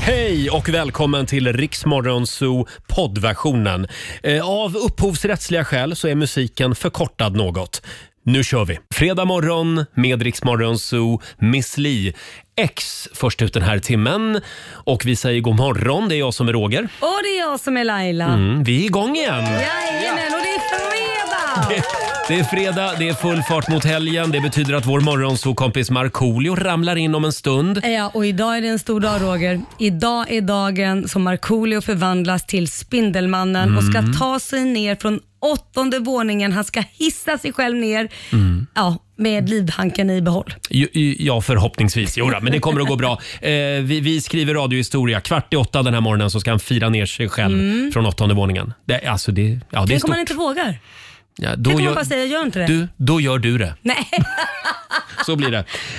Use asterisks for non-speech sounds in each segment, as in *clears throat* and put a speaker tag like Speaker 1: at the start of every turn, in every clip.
Speaker 1: Hej och välkommen till Riksmorgon Zoo poddversionen. Eh, Av upphovsrättsliga skäl så är musiken förkortad något. Nu kör vi! Fredag morgon med Riksmorgon Zoo, Miss Li. X först ut den här timmen. Och vi säger god morgon, det är jag som är Roger.
Speaker 2: Och det är jag som är Laila.
Speaker 1: Mm, vi är igång igen!
Speaker 2: Jajamän, och det är fredag!
Speaker 1: *laughs* Det är fredag, det är full fart mot helgen. Det betyder att vår morgonsokompis Markoolio ramlar in om en stund.
Speaker 2: Ja, och idag är det en stor dag Roger. Idag är dagen som Markoolio förvandlas till Spindelmannen och
Speaker 1: Mm.
Speaker 2: ska ta sig ner från åttonde våningen. Han ska hissa sig själv ner ja, med livhanken i behåll.
Speaker 1: Ju- ju- Ja, förhoppningsvis. Jo, då, men det kommer att
Speaker 2: *laughs*
Speaker 1: gå bra. Eh, vi, vi skriver radiohistoria. Kvart i åtta den här morgonen så ska han fira ner sig själv
Speaker 2: Mm.
Speaker 1: från åttonde våningen. Det, alltså det, ja, det är
Speaker 2: Tänk om
Speaker 1: stort.
Speaker 2: han inte vågar?
Speaker 1: Ja,
Speaker 2: Tänk
Speaker 1: då,
Speaker 2: om han
Speaker 1: gör,
Speaker 2: bara säger, gör inte det.
Speaker 1: du, då gör du det.
Speaker 2: Nej.
Speaker 1: *laughs* Så blir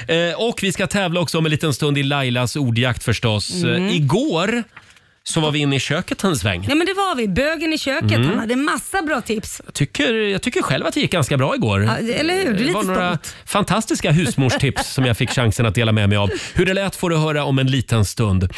Speaker 1: det. Eh, och vi ska tävla också om en liten stund i Lailas ordjakt förstås. Eh, igår så var vi inne i köket en sväng.
Speaker 2: Mm. Nej, men det var vi. Bögen i köket,
Speaker 1: Mm.
Speaker 2: han hade massa bra tips.
Speaker 1: Jag tycker, jag tycker själv att det gick ganska bra igår.
Speaker 2: Ja, eller hur? Du är
Speaker 1: Det
Speaker 2: lite
Speaker 1: var några
Speaker 2: stolt.
Speaker 1: fantastiska husmorstips
Speaker 2: *laughs*
Speaker 1: som jag fick chansen att dela med mig av. Hur det lät får du höra om en liten stund.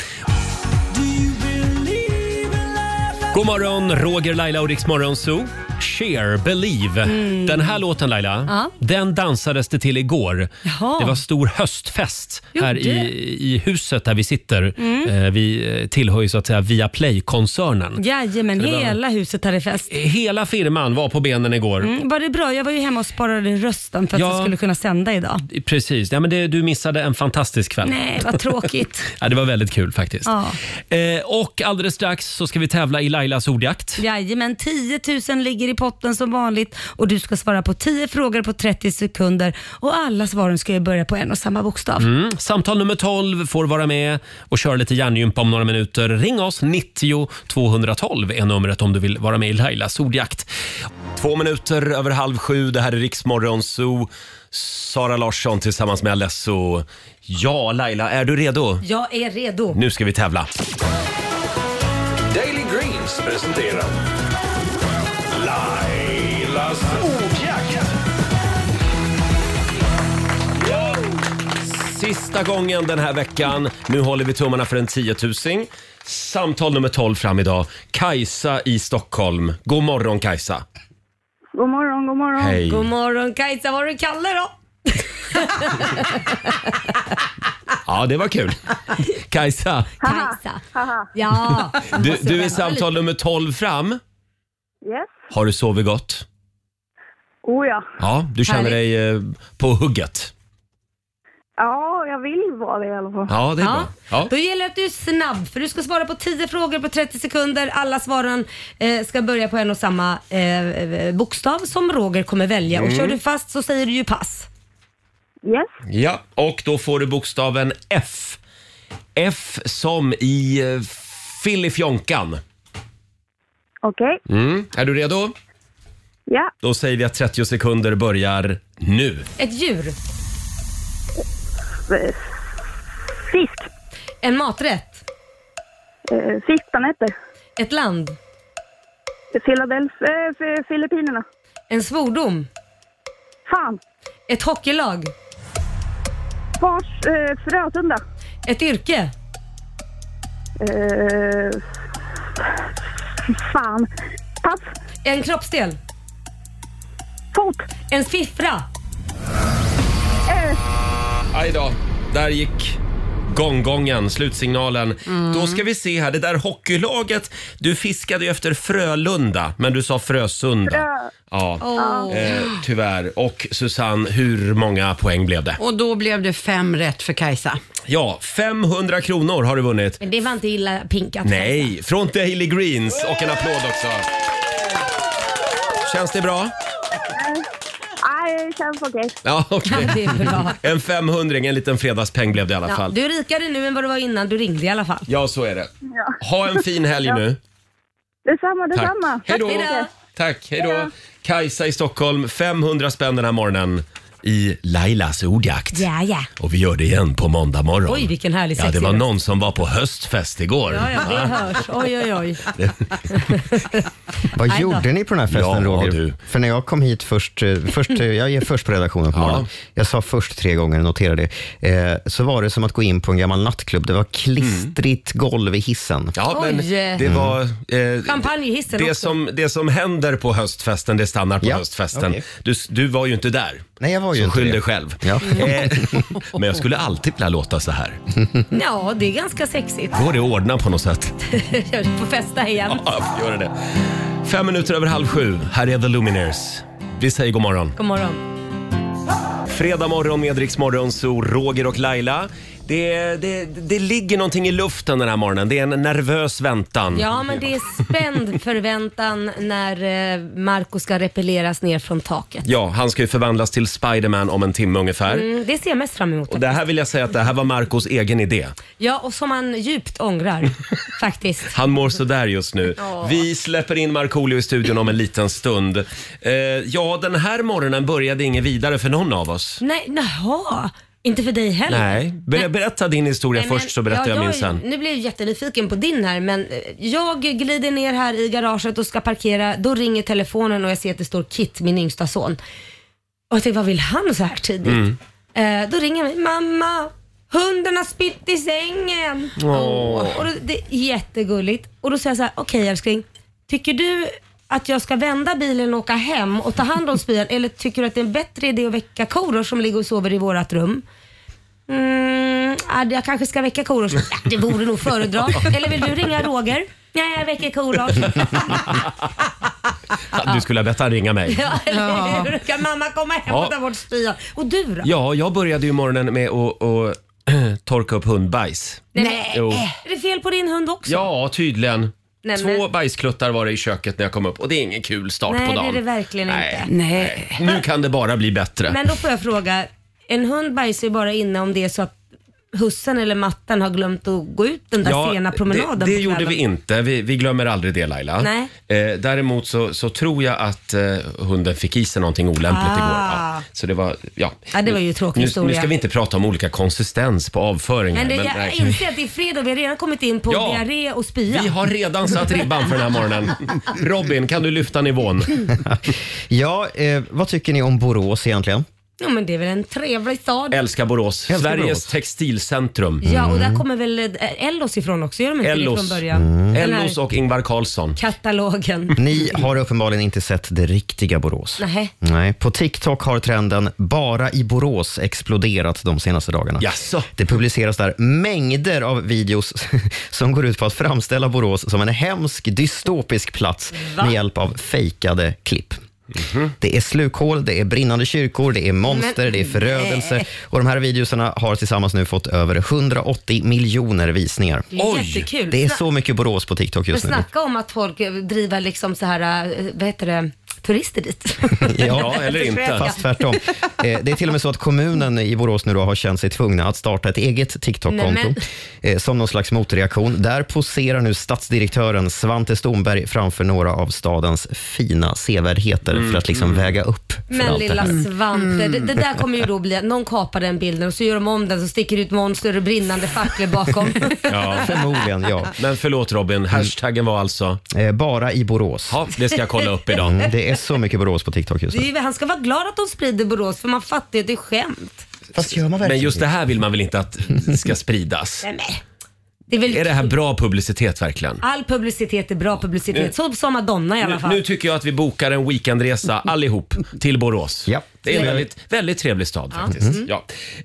Speaker 1: God morgon, Roger, Laila och Riksmorgon Zoo. Cher, Believe. Den här låten Laila,
Speaker 2: Mm. Ja.
Speaker 1: den dansades det till igår.
Speaker 2: Jaha.
Speaker 1: Det var stor höstfest
Speaker 2: Jo,
Speaker 1: här i,
Speaker 2: det. Mm.
Speaker 1: i huset där vi sitter. Eh, Vi eh, tillhör ju så att säga Viaplay-koncernen.
Speaker 2: Jajamän,
Speaker 1: det var-
Speaker 2: hela huset hade fest.
Speaker 1: Hela firman var på benen igår.
Speaker 2: Mm, Var det bra? Jag var ju hemma och sparade rösten för att
Speaker 1: Ja.
Speaker 2: jag skulle kunna sända idag.
Speaker 1: Precis, ja, men det, du missade en fantastisk kväll.
Speaker 2: Nej, vad
Speaker 1: *laughs*
Speaker 2: tråkigt.
Speaker 1: Ja, det var väldigt kul faktiskt.
Speaker 2: Ja.
Speaker 1: Eh, och alldeles strax så ska vi tävla i Lailas ordjakt.
Speaker 2: Jajamän, 10 000 ligger i potten som vanligt och du ska svara på 10 frågor på 30 sekunder och alla svaren ska ju börja på en och samma bokstav.
Speaker 1: Mm. Samtal nummer 12 får vara med och köra lite hjärngympa om några minuter. Ring oss, 90 212 är numret om du vill vara med i Lailas ordjakt. Två minuter över halv sju, det här är Riksmorgon Zoo. Sara Larsson tillsammans med Alesso. Ja, Laila, är du redo?
Speaker 2: Jag är redo.
Speaker 1: Nu ska vi tävla.
Speaker 3: Daily Greens presenterar Lailas ordjakt.
Speaker 1: Sista gången den här veckan. Nu håller vi tummarna för en tiotusing. Samtal nummer 12 fram idag. Kajsa i Stockholm. God morgon Kajsa.
Speaker 4: God morgon, god morgon.
Speaker 1: Hej.
Speaker 2: God morgon Kajsa, var du Kalle då?
Speaker 1: Ja, det var kul. Kajsa,
Speaker 2: Kajsa.
Speaker 4: *laughs*
Speaker 2: Ja.
Speaker 1: du, du är samtal nummer 12 fram.
Speaker 4: Yes.
Speaker 1: Har du sovit gott?
Speaker 4: Oh ja.
Speaker 1: Ja, du känner dig eh, på hugget.
Speaker 4: Ja, jag vill vara det i alla fall.
Speaker 1: Ja, det är
Speaker 2: Ja.
Speaker 1: bra. Ja.
Speaker 2: Då gäller det att du är snabb för du ska svara på 10 frågor på 30 sekunder. Alla svaren eh, ska börja på en och samma eh, eh, bokstav som Roger kommer välja. Och kör du fast så säger du ju pass.
Speaker 4: Mm. Yes.
Speaker 1: ja, och då får du bokstaven F. F som i eh, Filifjonkan.
Speaker 4: Okej.
Speaker 1: Mm. Är du redo?
Speaker 4: Ja.
Speaker 1: Då säger vi att 30 sekunder börjar nu.
Speaker 2: Ett djur,
Speaker 4: Eh, Fisk.
Speaker 2: en maträtt,
Speaker 4: Eh, Fiskpanetter.
Speaker 2: ett land,
Speaker 4: Philadelphia. Eh, Fi- Filippinerna.
Speaker 2: en svordom,
Speaker 4: Fan.
Speaker 2: ett hockeylag,
Speaker 4: Fars. Eh, Frösunda.
Speaker 2: ett yrke,
Speaker 4: Eh, fan. Pass.
Speaker 2: en kroppsdel,
Speaker 4: Fot.
Speaker 2: en siffra.
Speaker 1: Aj då, där gick gonggongen, slutsignalen. Då ska vi se här, det där hockeylaget. Du fiskade ju efter Frölunda, men du sa Frösunda.
Speaker 4: Frö-
Speaker 1: Ja,
Speaker 5: Åh.
Speaker 1: eh, tyvärr. Och Susanne, hur många poäng blev det?
Speaker 5: Och då blev det fem rätt för Kajsa.
Speaker 1: Ja, 500 kronor har du vunnit.
Speaker 2: Men det var inte illa pinkat.
Speaker 1: Nej, från Daily Greens. Och en applåd också. Känns det bra?
Speaker 4: Nej, det känns okej.
Speaker 1: Ja, *laughs* okej.
Speaker 2: Det är bra.
Speaker 1: En 500 en liten fredagspeng blev det i alla
Speaker 2: Ja,
Speaker 1: fall.
Speaker 2: du är rikare nu än vad du var innan du ringde i alla fall.
Speaker 1: Ja, så är det.
Speaker 4: Ja.
Speaker 1: Ha en fin helg nu.
Speaker 4: Detsamma,
Speaker 1: Tack.
Speaker 4: detsamma.
Speaker 1: Hej då.
Speaker 2: Tack, hej då.
Speaker 1: Tack, hej då. Kajsa i Stockholm, 500 spänn den här morgonen. i Lailas ordjakt.
Speaker 2: Ja, ja.
Speaker 1: Och vi gör det igen på måndag morgon.
Speaker 2: Oj, vilken härlig
Speaker 1: Ja, det
Speaker 2: sexig
Speaker 1: var
Speaker 2: röst.
Speaker 1: någon som var på höstfest igår.
Speaker 2: Ja, ja, det hörs. Oj, oj, oj.
Speaker 6: Vad
Speaker 2: då.
Speaker 6: gjorde ni på den här festen
Speaker 1: Ja,
Speaker 6: Roger?
Speaker 1: du.
Speaker 6: För när jag kom hit först, eh, först eh, jag är först på redaktionen på
Speaker 1: Ja.
Speaker 6: morgonen. Jag sa först tre gånger, notera det. Eh, så var det som att gå in på en gammal nattklubb. Det var klistrigt golv i hissen.
Speaker 1: Mm. Ja, men
Speaker 2: Oj.
Speaker 1: det var... Eh,
Speaker 2: Champagne i hissen
Speaker 1: det
Speaker 2: också.
Speaker 1: som, det som händer på höstfesten, det stannar på
Speaker 6: Ja,
Speaker 1: höstfesten.
Speaker 6: okej.
Speaker 1: Du, du var ju inte där.
Speaker 6: Nej, jag var ju
Speaker 1: Så
Speaker 6: inte
Speaker 1: skyll
Speaker 6: det.
Speaker 1: dig själv.
Speaker 6: Ja.
Speaker 1: Eh, *laughs* men jag skulle alltid vilja låta så här.
Speaker 2: Ja, det är ganska sexigt.
Speaker 1: Går det att ordna på något sätt?
Speaker 2: *laughs*
Speaker 1: *laughs*
Speaker 2: Jag får festa igen.
Speaker 1: Ja, jag får göra det. Fem minuter över halv sju. Här är The Lumineers. Vi säger god morgon.
Speaker 2: God morgon.
Speaker 1: Fredag morgon med Rix Morgon, så Roger och Laila. Det, det, det ligger någonting i luften den här morgonen. Det är en nervös väntan.
Speaker 2: Ja, men det är
Speaker 1: *laughs*
Speaker 2: spänd förväntan när eh, Marco ska repelleras ner från taket.
Speaker 1: Ja, han ska ju förvandlas till Spiderman om en timme ungefär.
Speaker 2: Mm, det ser jag mest fram emot.
Speaker 1: Och det här vill jag säga att det här var Marcos egen idé.
Speaker 2: Ja, och som han djupt
Speaker 1: *laughs*
Speaker 2: ångrar faktiskt.
Speaker 1: Han mår sådär just nu. Vi släpper in Markoolio i studion om en liten stund. Eh, ja, den här morgonen började inget vidare för någon av oss.
Speaker 2: Nej, jaha. Inte för dig heller.
Speaker 1: Nej, Ber- berätta din historia
Speaker 2: Nej, men-
Speaker 1: först så berättar
Speaker 2: ja,
Speaker 1: jag min sen.
Speaker 2: Nu blir jag jättenyfiken på din här men eh, jag glider ner här i garaget och ska parkera. Då ringer telefonen och jag ser att det står Kit, min yngsta son. Och jag tänkte, vad vill han så här tidigt?
Speaker 1: Mm.
Speaker 2: Eh, då ringer han mig, mamma, hunden har spytt i sängen. Och då, det är jättegulligt. Och då säger jag så här, okej älskling, tycker du att jag ska vända bilen och åka hem och ta hand om spyan eller tycker du att det är en bättre idé att väcka koror som ligger och sover i vårt rum? Mm, ja, jag kanske ska väcka Korosh. Ja, det vore nog föredrag. Eller vill du ringa Roger? Nej, jag väcker Korosh.
Speaker 1: Du skulle ha bett han ringa mig.
Speaker 2: Ja, eller hur? Kan mamma komma hem
Speaker 1: Ja.
Speaker 2: och ta bort spyan? Och du då?
Speaker 1: Ja, jag började ju morgonen med att, att *clears throat* torka upp hundbajs.
Speaker 2: Nej. Nej.
Speaker 1: Jo.
Speaker 2: Är det fel på din hund också?
Speaker 1: Ja, tydligen.
Speaker 2: Nej,
Speaker 1: Två
Speaker 2: men-
Speaker 1: bajskluttar var det i köket när jag kom upp och det är ingen kul start
Speaker 2: Nej,
Speaker 1: på
Speaker 2: det
Speaker 1: dagen.
Speaker 2: är det verkligen
Speaker 1: Nej.
Speaker 2: inte.
Speaker 7: Nej.
Speaker 1: Nu kan det bara bli bättre.
Speaker 2: Men då får jag fråga, en hund bajsar ju bara inne om det är så att hussen eller mattan har glömt att gå ut den där sena promenaden
Speaker 1: Det, det
Speaker 2: på
Speaker 1: gjorde
Speaker 2: kvällen.
Speaker 1: vi inte. Vi, vi glömmer aldrig det Laila.
Speaker 2: Nej.
Speaker 1: Eh, däremot så, så tror jag att eh, hunden fick i sig någonting olämpligt
Speaker 2: Ah.
Speaker 1: igår. Ja. Så det var, ja.
Speaker 2: Ja, det var ju tråkig
Speaker 1: nu,
Speaker 2: historia.
Speaker 1: Nu ska vi inte prata om olika konsistens på avföringar.
Speaker 2: Men det, jag
Speaker 1: nej.
Speaker 2: inser att det är fredag vi har redan kommit in på
Speaker 1: Ja.
Speaker 2: diarré och spya.
Speaker 1: Vi har redan satt ribban för den
Speaker 2: *laughs*
Speaker 1: här morgonen. Robin, kan du lyfta nivån?
Speaker 6: *laughs* Ja, eh, vad tycker ni om Borås egentligen?
Speaker 2: Ja, men det är väl en trevlig stad.
Speaker 1: Älskar Borås.
Speaker 6: Älskar
Speaker 1: Sveriges
Speaker 6: Borås.
Speaker 1: textilcentrum.
Speaker 2: Ja, och där kommer väl eh, Ellos ifrån också? Gör de inte det
Speaker 1: Mm. Ellos. Mm.
Speaker 2: från början? Den här
Speaker 1: Ellos och Ingvar Carlsson. *laughs*
Speaker 2: katalogen.
Speaker 6: Mm. Ni har uppenbarligen inte sett det riktiga Borås.
Speaker 2: Nej.
Speaker 6: Nej, på TikTok har trenden “bara i Borås” exploderat de senaste dagarna.
Speaker 1: Jaså?
Speaker 6: Det publiceras där mängder av videos *laughs* som går ut på att framställa Borås som en hemsk, dystopisk plats med hjälp av fejkade klipp. Det är slukhål, det är brinnande kyrkor, det är monster,
Speaker 2: Mhm. Men-
Speaker 6: det är förödelse. Och de här videoserna har tillsammans nu fått över 180 miljoner visningar.
Speaker 2: Det är
Speaker 1: Oj,
Speaker 2: jättekul.
Speaker 6: Det är
Speaker 2: Sna-
Speaker 6: så mycket Borås på TikTok
Speaker 2: Men
Speaker 6: just nu.
Speaker 2: snacka om att folk eh, driver liksom så här, eh, vad heter det, turister dit. *laughs*
Speaker 1: Ja,
Speaker 6: *laughs*
Speaker 1: eller inte.
Speaker 6: Fast tvärtom. Eh, det är till och med så att kommunen i Borås nu då har känt sig tvungna att starta ett eget
Speaker 2: Nej,
Speaker 6: TikTok-konto eh, som någon slags motreaktion. Där poserar nu stadsdirektören Svante Stomberg framför några av stadens fina sevärdheter för att
Speaker 1: Mm.
Speaker 6: liksom väga upp för
Speaker 2: Men
Speaker 6: allt det
Speaker 2: lilla
Speaker 6: här.
Speaker 2: Svante, det, det där kommer ju då bli, att någon kapar den bilden och så gör de om den så sticker ut monster och brinnande facklor bakom.
Speaker 1: *laughs* Ja.
Speaker 6: Förmodligen, ja.
Speaker 1: *laughs*
Speaker 6: Mm.
Speaker 1: Men förlåt Robin, hashtaggen var alltså?
Speaker 6: Eh, bara i Borås.
Speaker 1: Ja, det ska jag kolla upp idag.
Speaker 6: Mm, Det är så mycket Borås på TikTok just
Speaker 2: Det är,
Speaker 6: nu.
Speaker 2: ju- han ska vara glad att de sprider Borås för man fattar ju att det är skämt.
Speaker 6: Fast gör man
Speaker 1: Men
Speaker 6: verkligen
Speaker 1: just det här vill man
Speaker 6: *laughs*
Speaker 1: väl inte att ska spridas?
Speaker 2: Nej, men. Det är väl
Speaker 1: Är det här bra publicitet verkligen?
Speaker 2: All publicitet är bra publicitet. Så sa Madonna i alla
Speaker 1: Nu,
Speaker 2: fall.
Speaker 1: nu tycker jag att vi bokar en weekendresa allihop till Borås.
Speaker 6: Ja.
Speaker 1: Det är en väldigt, väldigt trevlig stad faktiskt.
Speaker 2: Mm-hmm.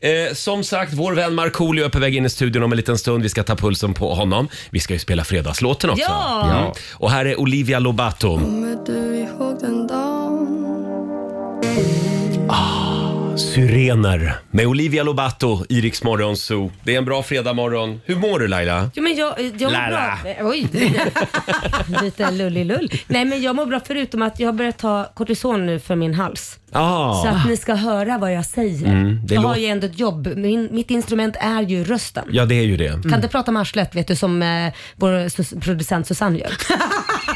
Speaker 1: Ja. Eh, som sagt, vår vän Markoolio är på väg in i studion om en liten stund. Vi ska ta pulsen på honom. Vi ska ju spela fredagslåten också.
Speaker 2: Ja!
Speaker 1: Mm. Och här är Olivia Lobato. Ah, Syrener med Olivia Lobato, Iriks morgonzoo. Det är en bra fredagmorgon. Hur mår du Laila?
Speaker 2: Jo, men jag, jag mår
Speaker 1: Lara.
Speaker 2: bra. Eh, Oj. *laughs* Lite lullilull. Nej men jag mår bra förutom att jag har börjat ta kortison nu för min hals. Så
Speaker 1: Ah.
Speaker 2: att ni ska höra vad jag säger.
Speaker 1: Mm, det
Speaker 2: jag har
Speaker 1: låter-
Speaker 2: ju ändå ett jobb. Min, mitt instrument är ju rösten.
Speaker 1: Ja, Mm. det är ju det.
Speaker 8: *laughs*
Speaker 2: Kan inte prata med arslet vet du som eh, vår sus- producent Susanne gör.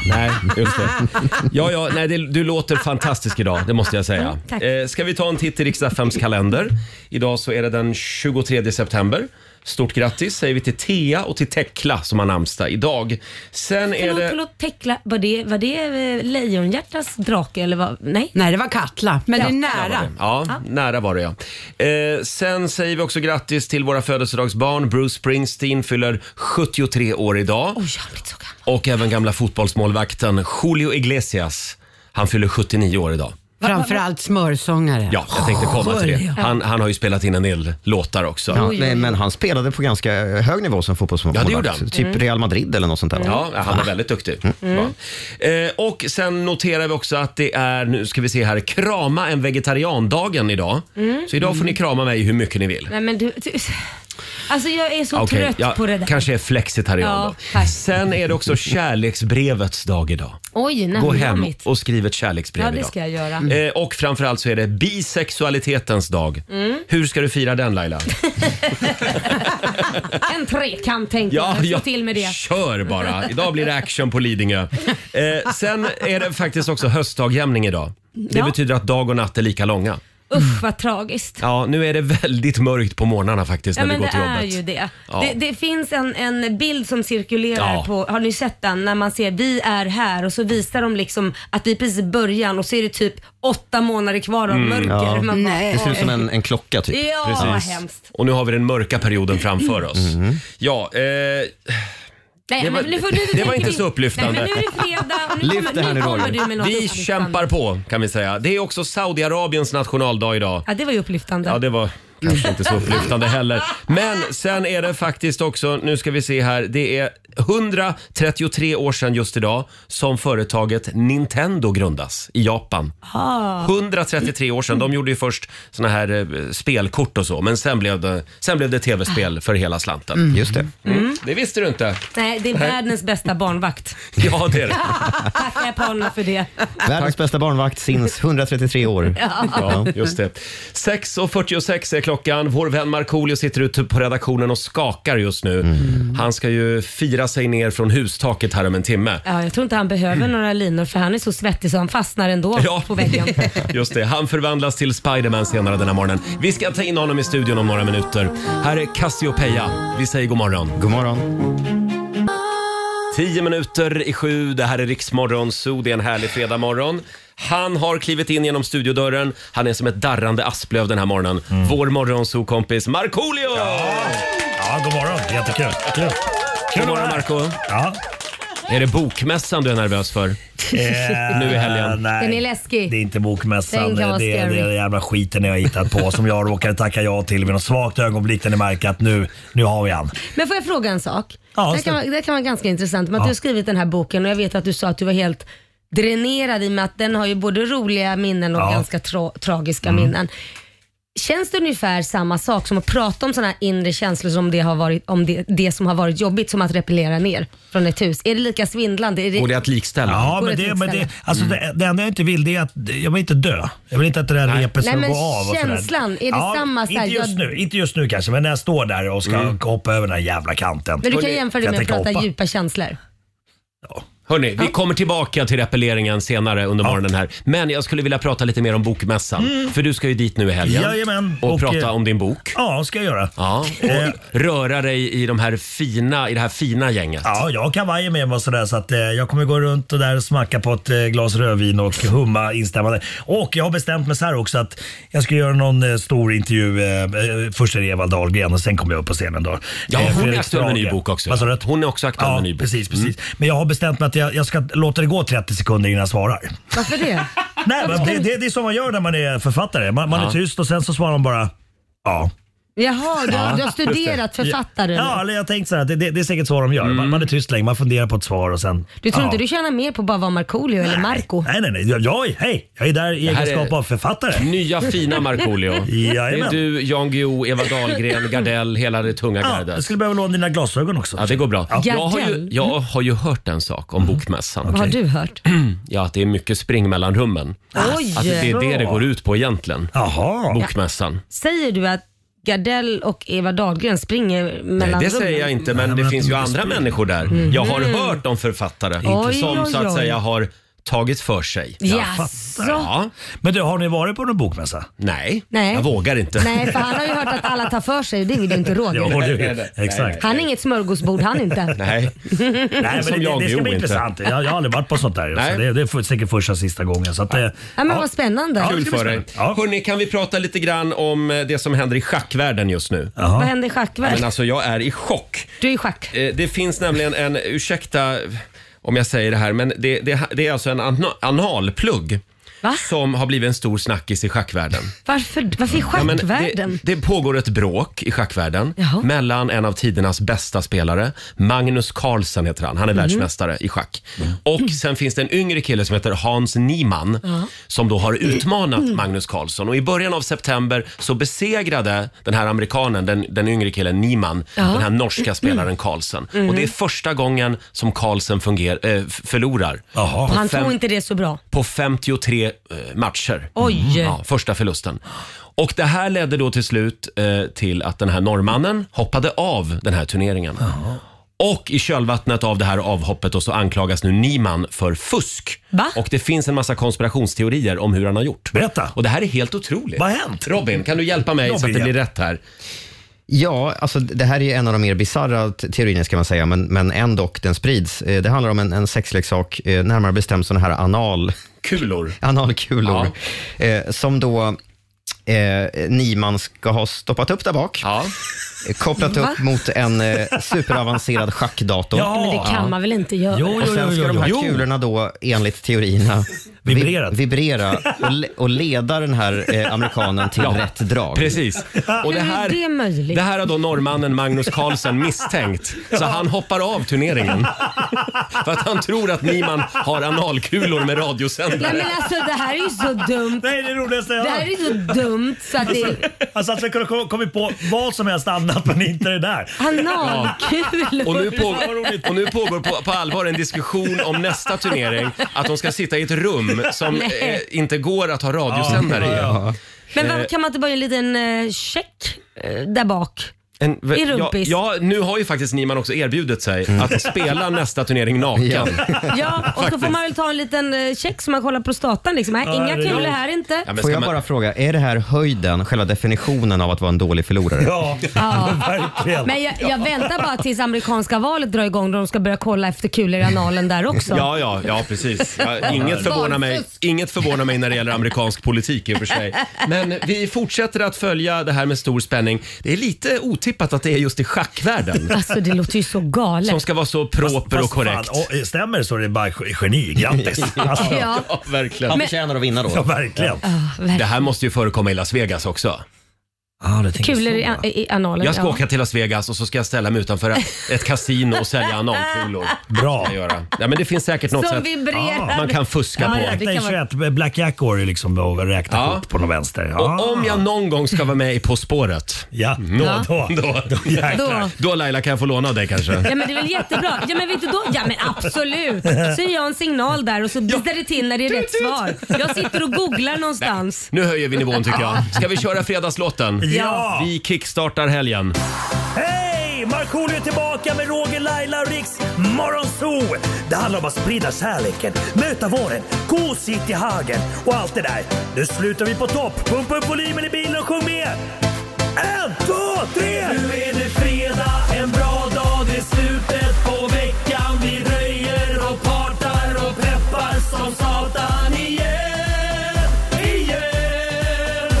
Speaker 1: Nej, just det. Ja, ja, nej, det, du låter fantastisk idag, det måste jag säga.
Speaker 9: tack.
Speaker 1: Eh, ska vi ta en titt i Riks-FMs kalender? Idag så är det den 23 september. Stort grattis säger vi till Thea och till Tekla som har namnsdag idag. Sen är
Speaker 2: Förlåt,
Speaker 1: det...
Speaker 2: förlåt, Tekla. Var det, var det eh, Lejonhjärtas drake eller vad? Nej?
Speaker 8: Nej, det var Katla, men det är
Speaker 1: Där var
Speaker 8: nära.
Speaker 1: det. Ja, nära var det ja. Eh, sen säger vi också grattis till våra födelsedagsbarn. Bruce Springsteen fyller 73 år idag.
Speaker 2: Oj, jag har blivit så gammal.
Speaker 1: Och även gamla fotbollsmålvakten Julio Iglesias. Han fyller 79 år idag.
Speaker 8: Framförallt smörsångare.
Speaker 1: Ja, jag tänkte komma till det. Han, han har ju spelat in en del låtar också.
Speaker 6: Ja, men, men han spelade på ganska hög nivå som fotbollsmålvakt.
Speaker 1: Ja, det gjorde han.
Speaker 6: Typ
Speaker 2: Mm.
Speaker 6: Real Madrid eller något sånt där. va? Mm.
Speaker 1: Ja, han var väldigt duktig. Ja. Eh, och sen noterar vi också att det är, nu ska vi se här, krama en vegetariandagen idag.
Speaker 2: Mm.
Speaker 1: Så idag får ni krama mig hur mycket ni vill.
Speaker 2: Nej, men du, du, alltså jag är så
Speaker 1: Okej,
Speaker 2: trött på det där.
Speaker 1: kanske är flexitarian
Speaker 2: Ja,
Speaker 1: då.
Speaker 2: tack.
Speaker 1: Sen är det också kärleksbrevets dag idag.
Speaker 2: Oj, nej,
Speaker 1: Gå
Speaker 2: vad
Speaker 1: hem
Speaker 2: dammigt.
Speaker 1: och skriv ett kärleksbrev
Speaker 2: Ja, det
Speaker 1: idag.
Speaker 2: ska jag göra. Mm.
Speaker 1: Eh, och framförallt så är det bisexualitetens dag. Hur ska du fira den Laila?
Speaker 2: En trekant tänkte jag. Slå till med det.
Speaker 1: Kör bara. Idag blir det action på Lidingö. Eh, sen är det faktiskt också höstdagjämning idag. Det
Speaker 2: Ja.
Speaker 1: betyder att dag och natt är lika långa.
Speaker 2: Usch, vad tragiskt.
Speaker 1: Ja, nu är det väldigt mörkt på morgnarna faktiskt
Speaker 2: Ja
Speaker 1: när
Speaker 2: men
Speaker 1: vi går
Speaker 2: det
Speaker 1: till
Speaker 2: är
Speaker 1: jobbet.
Speaker 2: ju det.
Speaker 1: Ja.
Speaker 2: det. Det finns en, en bild som cirkulerar
Speaker 1: Ja.
Speaker 2: på, har ni sett den? När man ser vi är här och så visar de liksom att vi är precis i början och så är det typ åtta månader kvar av
Speaker 1: Mm.
Speaker 2: mörker.
Speaker 6: ja.
Speaker 2: Man bara,
Speaker 8: Nej.
Speaker 6: Det ser ut som en, en klocka typ.
Speaker 2: Ja, vad hemskt.
Speaker 1: Och nu har vi den mörka perioden framför oss.
Speaker 6: Mm.
Speaker 1: Ja, eh,
Speaker 2: Nej,
Speaker 1: Det var-
Speaker 2: men nu får, nu,
Speaker 1: det var
Speaker 2: tänker
Speaker 1: inte
Speaker 2: vi-
Speaker 1: så upplyftande.
Speaker 2: Nej, men nu är det fredag och nu
Speaker 6: Lyft
Speaker 2: kommer,
Speaker 6: det här
Speaker 2: nu
Speaker 6: nu,
Speaker 2: kommer
Speaker 6: Roger.
Speaker 2: du med något
Speaker 1: vi
Speaker 2: upplyftande.
Speaker 1: kämpar på kan vi säga. Det är också Saudiarabiens nationaldag idag.
Speaker 2: Ja, det var ju upplyftande.
Speaker 1: Ja, det var kanske inte så upplyftande heller. Men sen är det faktiskt också, nu ska vi se här, det är 133 år sedan just idag som företaget Nintendo grundas i Japan. 133 år sedan. De gjorde ju först såna här eh, spelkort och så, men sen blev det, sen blev det tv-spel för hela slanten.
Speaker 6: Just det.
Speaker 1: Mm. Det visste du inte.
Speaker 2: Nej, det är världens bästa barnvakt.
Speaker 1: Ja, det är det.
Speaker 2: Tackar japanerna för det.
Speaker 6: *laughs* Världens bästa barnvakt sinns 133 år.
Speaker 1: Ja, just det. 6.46 är klockan. Vår vän Markoolio sitter ute på redaktionen och skakar just nu.
Speaker 6: Mm.
Speaker 1: Han ska ju fira sig ner från hustaket här om en timme.
Speaker 2: Ja, jag tror inte han behöver några linor för han är så svettig så han fastnar ändå
Speaker 1: Ja.
Speaker 2: på
Speaker 1: *laughs*
Speaker 2: väggen.
Speaker 1: Just det, han förvandlas till Spiderman senare den här morgonen. Vi ska ta in honom i studion om några minuter. Här är Cassiopeia. Vi säger god morgon.
Speaker 6: God morgon.
Speaker 1: 10 minuter i sju, det här är Riksmorgon Zoo, det är en härlig fredagmorgon. Han har klivit in genom studiodörren. Han är som ett darrande asplöv den här morgonen.
Speaker 10: Mm.
Speaker 1: Vår morgonzoo-kompis Markoolio!
Speaker 10: Ja, god morgon. Jättekul. Kul. Kul
Speaker 1: God
Speaker 10: att vara
Speaker 1: morgon
Speaker 10: här.
Speaker 1: Marco.
Speaker 10: Ja.
Speaker 1: Är det bokmässan du är nervös för?
Speaker 10: Eh,
Speaker 1: Nu i helgen.
Speaker 10: Nej.
Speaker 2: Den är läskig.
Speaker 10: Det är inte bokmässan.
Speaker 2: Den
Speaker 10: Det
Speaker 2: kan
Speaker 10: är,
Speaker 2: vara
Speaker 10: det är
Speaker 2: scary.
Speaker 10: den jävla skiten jag har hittat på som jag råkade tacka ja till vid något svagt ögonblick när ni märker att nu, nu har vi han.
Speaker 2: Men får jag fråga en sak?
Speaker 10: Ja,
Speaker 2: det, här
Speaker 10: ställ.
Speaker 2: kan vara, det här kan vara ganska intressant. Men att
Speaker 10: Ja.
Speaker 2: Du har skrivit den här boken och jag vet att du sa att du var helt dränerad i och med att den har ju både roliga minnen och
Speaker 10: Ja. Mm.
Speaker 2: ganska tra- tragiska minnen. Känns det ungefär samma sak som att prata om sådana här inre känslor som det, har varit, om det, det som har varit jobbigt som att repellera ner från ett hus? Är det lika svindlande? Är det,
Speaker 1: Går det att likställa?
Speaker 10: Ja,
Speaker 2: Går
Speaker 10: men
Speaker 2: det
Speaker 10: det,
Speaker 2: att
Speaker 10: men det,
Speaker 2: likställa?
Speaker 10: alltså det, det enda jag inte vill det är att jag vill inte dö. Jag vill inte att det där repet ska
Speaker 2: Nej, men
Speaker 10: gå av. Och sådär.
Speaker 2: känslan, är det samma så här,
Speaker 10: Inte just,
Speaker 2: jag-
Speaker 10: nu, inte just nu kanske, men när jag står där och ska
Speaker 1: Mm.
Speaker 10: hoppa över den här jävla kanten.
Speaker 2: men du kan jämföra det
Speaker 10: Jag
Speaker 2: med att
Speaker 10: tänker
Speaker 2: prata
Speaker 10: hoppa.
Speaker 2: djupa känslor.
Speaker 1: Hörni, vi kommer tillbaka till repelleringen senare under morgonen här. Men jag skulle vilja prata lite mer om bokmässan. För du ska ju dit nu i helgen.
Speaker 10: Mm. Jajamän.
Speaker 1: Och,
Speaker 10: Och,
Speaker 1: prata
Speaker 10: eh,
Speaker 1: om din bok.
Speaker 10: Ja, ska jag göra.
Speaker 1: Ja,
Speaker 10: Eh,
Speaker 1: och röra dig i, de här fina, i det här fina gänget.
Speaker 10: Ja, jag har kavajer med mig och sådär så att eh, jag kommer gå runt och där och smacka på ett eh, glas rödvin och humma instämmande. Och jag har bestämt mig så här också att jag ska göra någon eh, stor intervju. Eh, eh, först är det Eva Dahlgren och sen kommer jag upp på scenen då.
Speaker 1: Ja,
Speaker 10: Eh,
Speaker 1: hon är
Speaker 10: Fredrik
Speaker 1: aktuell med
Speaker 10: Strage.
Speaker 1: ny bok också.
Speaker 10: Vad sa du?
Speaker 1: Hon är också aktuell
Speaker 10: Ja,
Speaker 1: med ny bok. Mm.
Speaker 10: precis, precis. Men jag har bestämt mig att jag, jag ska låta det gå 30 sekunder innan jag svarar. *laughs*
Speaker 2: Varför det?
Speaker 10: Nej, men det, det, det är så man gör när man är författare. Man, man
Speaker 1: Ja.
Speaker 10: är tyst och sen så svarar man bara ja.
Speaker 2: Jaha, du, du har studerat författare nu.
Speaker 10: Ja, eller jag tänkte så här, att det, det, det är säkert så de gör.
Speaker 1: Mm.
Speaker 10: Man, man är tyst länge, man funderar på ett svar och sen...
Speaker 2: Du tror
Speaker 10: ja.
Speaker 2: inte du tjänar mer på att bara vara Markoolio eller Marco?
Speaker 10: Nej, nej, nej. Jag, jag, hej, jag är där i
Speaker 1: här
Speaker 10: egenskap
Speaker 1: är-
Speaker 10: av författare.
Speaker 1: Nya
Speaker 10: *laughs*
Speaker 1: fina Markoolio.
Speaker 9: *laughs*
Speaker 1: Det är
Speaker 10: Jajamän.
Speaker 1: du, Jan Guillou, Eva Dahlgren, Gardell, hela det tunga
Speaker 10: Ja,
Speaker 1: gardet.
Speaker 10: jag skulle behöva låna dina glasögon också.
Speaker 1: Ja, det går bra. Jag har, ju,
Speaker 2: Gardell.
Speaker 1: jag har ju hört en sak om bokmässan.
Speaker 2: Vad har du hört?
Speaker 1: *clears throat* Ja, att det är mycket spring mellan rummen.
Speaker 2: Oj!
Speaker 1: Att det är det det går ut på egentligen.
Speaker 10: Jaha.
Speaker 1: Bokmässan.
Speaker 2: Säger du att Gardell och Eva Dahlgren springer
Speaker 1: Nej,
Speaker 2: mellan
Speaker 1: det
Speaker 2: rummen.
Speaker 1: säger jag inte, men det
Speaker 9: men
Speaker 1: finns
Speaker 9: att
Speaker 1: ju
Speaker 9: de
Speaker 1: andra
Speaker 9: springer.
Speaker 1: människor där. Jag har hört om författare
Speaker 2: Oj,
Speaker 1: som så
Speaker 2: oj,
Speaker 1: att
Speaker 2: oj.
Speaker 1: säga har tagit för sig.
Speaker 2: Jaså?
Speaker 1: Ja.
Speaker 9: Men du, har ni varit på någon bokmässa?
Speaker 1: Nej,
Speaker 2: Nej.
Speaker 1: jag vågar inte.
Speaker 2: Nej, för han har ju hört att alla tar för sig och det vill ju inte
Speaker 9: Ja,
Speaker 2: Roger.
Speaker 9: det
Speaker 1: nej,
Speaker 9: vet
Speaker 1: nej.
Speaker 9: jag. Exakt.
Speaker 2: Han är inget smörgåsbord han inte.
Speaker 1: *laughs* Nej.
Speaker 9: Nej,
Speaker 1: *laughs* Som
Speaker 9: men det,
Speaker 1: jag,
Speaker 9: det, det
Speaker 1: jo,
Speaker 9: ska
Speaker 1: inte.
Speaker 9: bli intressant. Jag, jag har aldrig varit på sånt där.
Speaker 1: Nej.
Speaker 9: Så det, det är säkert första och sista gången. Så att, det-
Speaker 2: Ja, men vad spännande.
Speaker 9: Ja, det
Speaker 1: Kul
Speaker 9: ska bli
Speaker 1: för dig.
Speaker 9: spännande. Ja.
Speaker 1: Hörni, kan vi prata lite grann om eh, det som händer i schackvärlden just nu?
Speaker 2: Vad händer i schackvärlden?
Speaker 1: Men alltså, jag är i chock.
Speaker 2: Du är i schack.
Speaker 1: Eh, Det finns nämligen en, ursäkta om jag säger det här, men det, det, det är alltså en ana- analplugg
Speaker 2: Va?
Speaker 1: som har blivit en stor snackis i schackvärlden.
Speaker 2: Varför, varför i
Speaker 1: Ja, men
Speaker 2: schackvärlden?
Speaker 1: det, det pågår ett bråk i schackvärlden
Speaker 2: Jaha.
Speaker 1: mellan en av tidernas bästa spelare, Magnus Carlsen heter han,
Speaker 2: Mhm.
Speaker 1: han är världsmästare i schack. Och sen finns det en yngre kille som heter Hans Niemann som då har utmanat Magnus Carlsen. Och i början av september så besegrade den här amerikanen, den, den yngre killen Niemann, den här norska
Speaker 2: Mm.
Speaker 1: spelaren Carlsen. Och det är första gången som Carlsen funger- eh, f- förlorar
Speaker 9: Jaha.
Speaker 2: Han
Speaker 1: fem-
Speaker 2: tror inte det är så bra.
Speaker 1: på 53 eh, matcher. Mm.
Speaker 2: Oj.
Speaker 1: Ja, första förlusten. Och det här ledde då till slut eh, till att den här norrmannen hoppade av den här turneringen. Och i kölvattnet av det här avhoppet då så anklagas nu Niman för fusk.
Speaker 2: Va?
Speaker 1: Och det finns en massa konspirationsteorier om hur han har gjort.
Speaker 9: Berätta.
Speaker 1: Och det här är helt otroligt.
Speaker 9: Vad har hänt?
Speaker 1: Robin, kan du hjälpa mig så att det
Speaker 9: Robin, ja.
Speaker 1: blir rätt här?
Speaker 6: Ja, alltså det här är ju en av de mer bisarra t- teorierna ska man säga, men, men ändock den sprids. Eh, Det handlar om en, en sexleksak, eh, närmare bestämt sådana här anal,
Speaker 1: Kulor.
Speaker 6: *laughs* analkulor, eh, som då eh, Niman ska ha stoppat upp där bak,
Speaker 1: Ja.
Speaker 6: eh, kopplat upp mot en eh, superavancerad schackdator.
Speaker 9: Ja.
Speaker 2: Men det kan man väl inte göra?
Speaker 9: Jo,
Speaker 6: Och
Speaker 9: jo,
Speaker 6: sen
Speaker 9: jo,
Speaker 6: ska
Speaker 9: jo,
Speaker 6: de här
Speaker 9: jo.
Speaker 6: kulorna då, enligt teorierna, vi-
Speaker 9: Vibrera.
Speaker 6: vibrera och, le- och leda den här eh, amerikanen till
Speaker 1: Ja,
Speaker 6: rätt drag.
Speaker 1: Precis. Och
Speaker 2: Hur
Speaker 1: det
Speaker 2: är
Speaker 1: här,
Speaker 2: det möjligt?
Speaker 1: det här har då norrmannen
Speaker 2: *laughs*
Speaker 1: Magnus Carlsen misstänkt. Så han hoppar av turneringen. För att han tror att Niman har analkulor med
Speaker 2: Nej
Speaker 1: radiosändare.
Speaker 2: men alltså det här är ju så dumt.
Speaker 9: Nej, det är det roligaste jag
Speaker 2: Det här är
Speaker 9: hört.
Speaker 2: ju så dumt så att det...
Speaker 9: Alltså att vi kunde kom- kommit på vad som helst annat men inte det där.
Speaker 1: Och nu,
Speaker 2: Analkulor.
Speaker 1: pågår, och nu pågår på, på allvar en diskussion om nästa turnering, att de ska sitta i ett rum som
Speaker 2: Nej.
Speaker 1: eh, inte går att ha radiosändare i.
Speaker 2: Men
Speaker 1: Eh.
Speaker 2: varför kan man inte bara göra en liten eh, check eh, där bak?
Speaker 1: En,
Speaker 2: I
Speaker 1: ja,
Speaker 2: rumpis.
Speaker 1: ja, nu har ju faktiskt Niman också erbjudit sig att spela nästa turnering naken. *laughs*
Speaker 6: Ja.
Speaker 2: Ja, och så får man väl ta en liten eh, check så man kollar prostatan liksom. Nej, inga
Speaker 9: Herregud.
Speaker 2: kulor här inte.
Speaker 1: Ja, men
Speaker 6: Får
Speaker 1: ska
Speaker 6: jag
Speaker 1: man-
Speaker 6: bara fråga, är det här höjden, själva definitionen av att vara en dålig förlorare?
Speaker 9: Ja, verkligen.
Speaker 2: Men jag, jag väntar bara tills amerikanska valet drar igång då de ska börja kolla efter kulor i analen där också.
Speaker 1: Ja, ja, ja precis. Ja, inget, förvånar mig,
Speaker 2: Barnfusk.
Speaker 1: inget förvånar mig när det gäller amerikansk politik i och för sig. Men vi fortsätter att följa det här med stor spänning. Det är lite otippat att det är just i schackvärlden
Speaker 2: Alltså det låter ju så galet.
Speaker 1: som ska vara så proper och
Speaker 9: Fast fan,
Speaker 1: korrekt.
Speaker 9: och, eh, stämmer det så är det bara ge- geni. Grattis! Alltså, ja.
Speaker 2: Ja,
Speaker 1: *laughs* Ja, verkligen.
Speaker 6: Han förtjänar att vinna då.
Speaker 9: verkligen.
Speaker 1: Det
Speaker 2: verkligen.
Speaker 1: här måste ju förekomma i Las Vegas också.
Speaker 9: Ja, det tänker jag
Speaker 2: Kulor
Speaker 9: så.
Speaker 2: i, an- i analen.
Speaker 1: Jag ska
Speaker 2: ja.
Speaker 1: åka till Las Vegas och så ska jag ställa mig utanför ett kasino
Speaker 2: *laughs*
Speaker 1: och sälja analkulor.
Speaker 9: Bra.
Speaker 1: Ska jag göra. Ja, men det finns säkert något
Speaker 2: Som
Speaker 1: sätt Ah,
Speaker 2: vibrerar.
Speaker 1: man kan fuska på.
Speaker 2: Ja, det
Speaker 9: Räkna i
Speaker 2: kan vara-
Speaker 9: 21, Black Jack går ju liksom och räkna
Speaker 1: Ja.
Speaker 9: kort på någon vänster. Ja.
Speaker 1: Och om jag någon gång ska vara med i På spåret,
Speaker 9: Ja, då, då,
Speaker 1: *laughs*
Speaker 9: då, då jäklar.
Speaker 2: Då.
Speaker 1: Mhm. då Laila kan jag få låna av dig kanske?
Speaker 2: Ja men det är väl jättebra. Ja men vet du då? Ja men absolut. Så gör jag en signal där och så blippar det till när det är rätt svar. Jag sitter och googlar någonstans.
Speaker 1: Nu höjer vi nivån tycker jag. Ska vi köra fredagslåten?
Speaker 9: Ja!
Speaker 1: Vi kickstartar helgen.
Speaker 9: Hej! Markoolio är tillbaka med Roger, Laila och Riks Morgonzoo! Det handlar om att sprida kärleken, möta våren, gosigt i hagen och allt det där. Nu slutar vi på topp! Pumpa upp volymen i bilen och sjung med! En, två, tre! Nu är det fredag, en bra dag, det är slutet på veckan. Vi röjer och partar och peppar som satan igen, igen,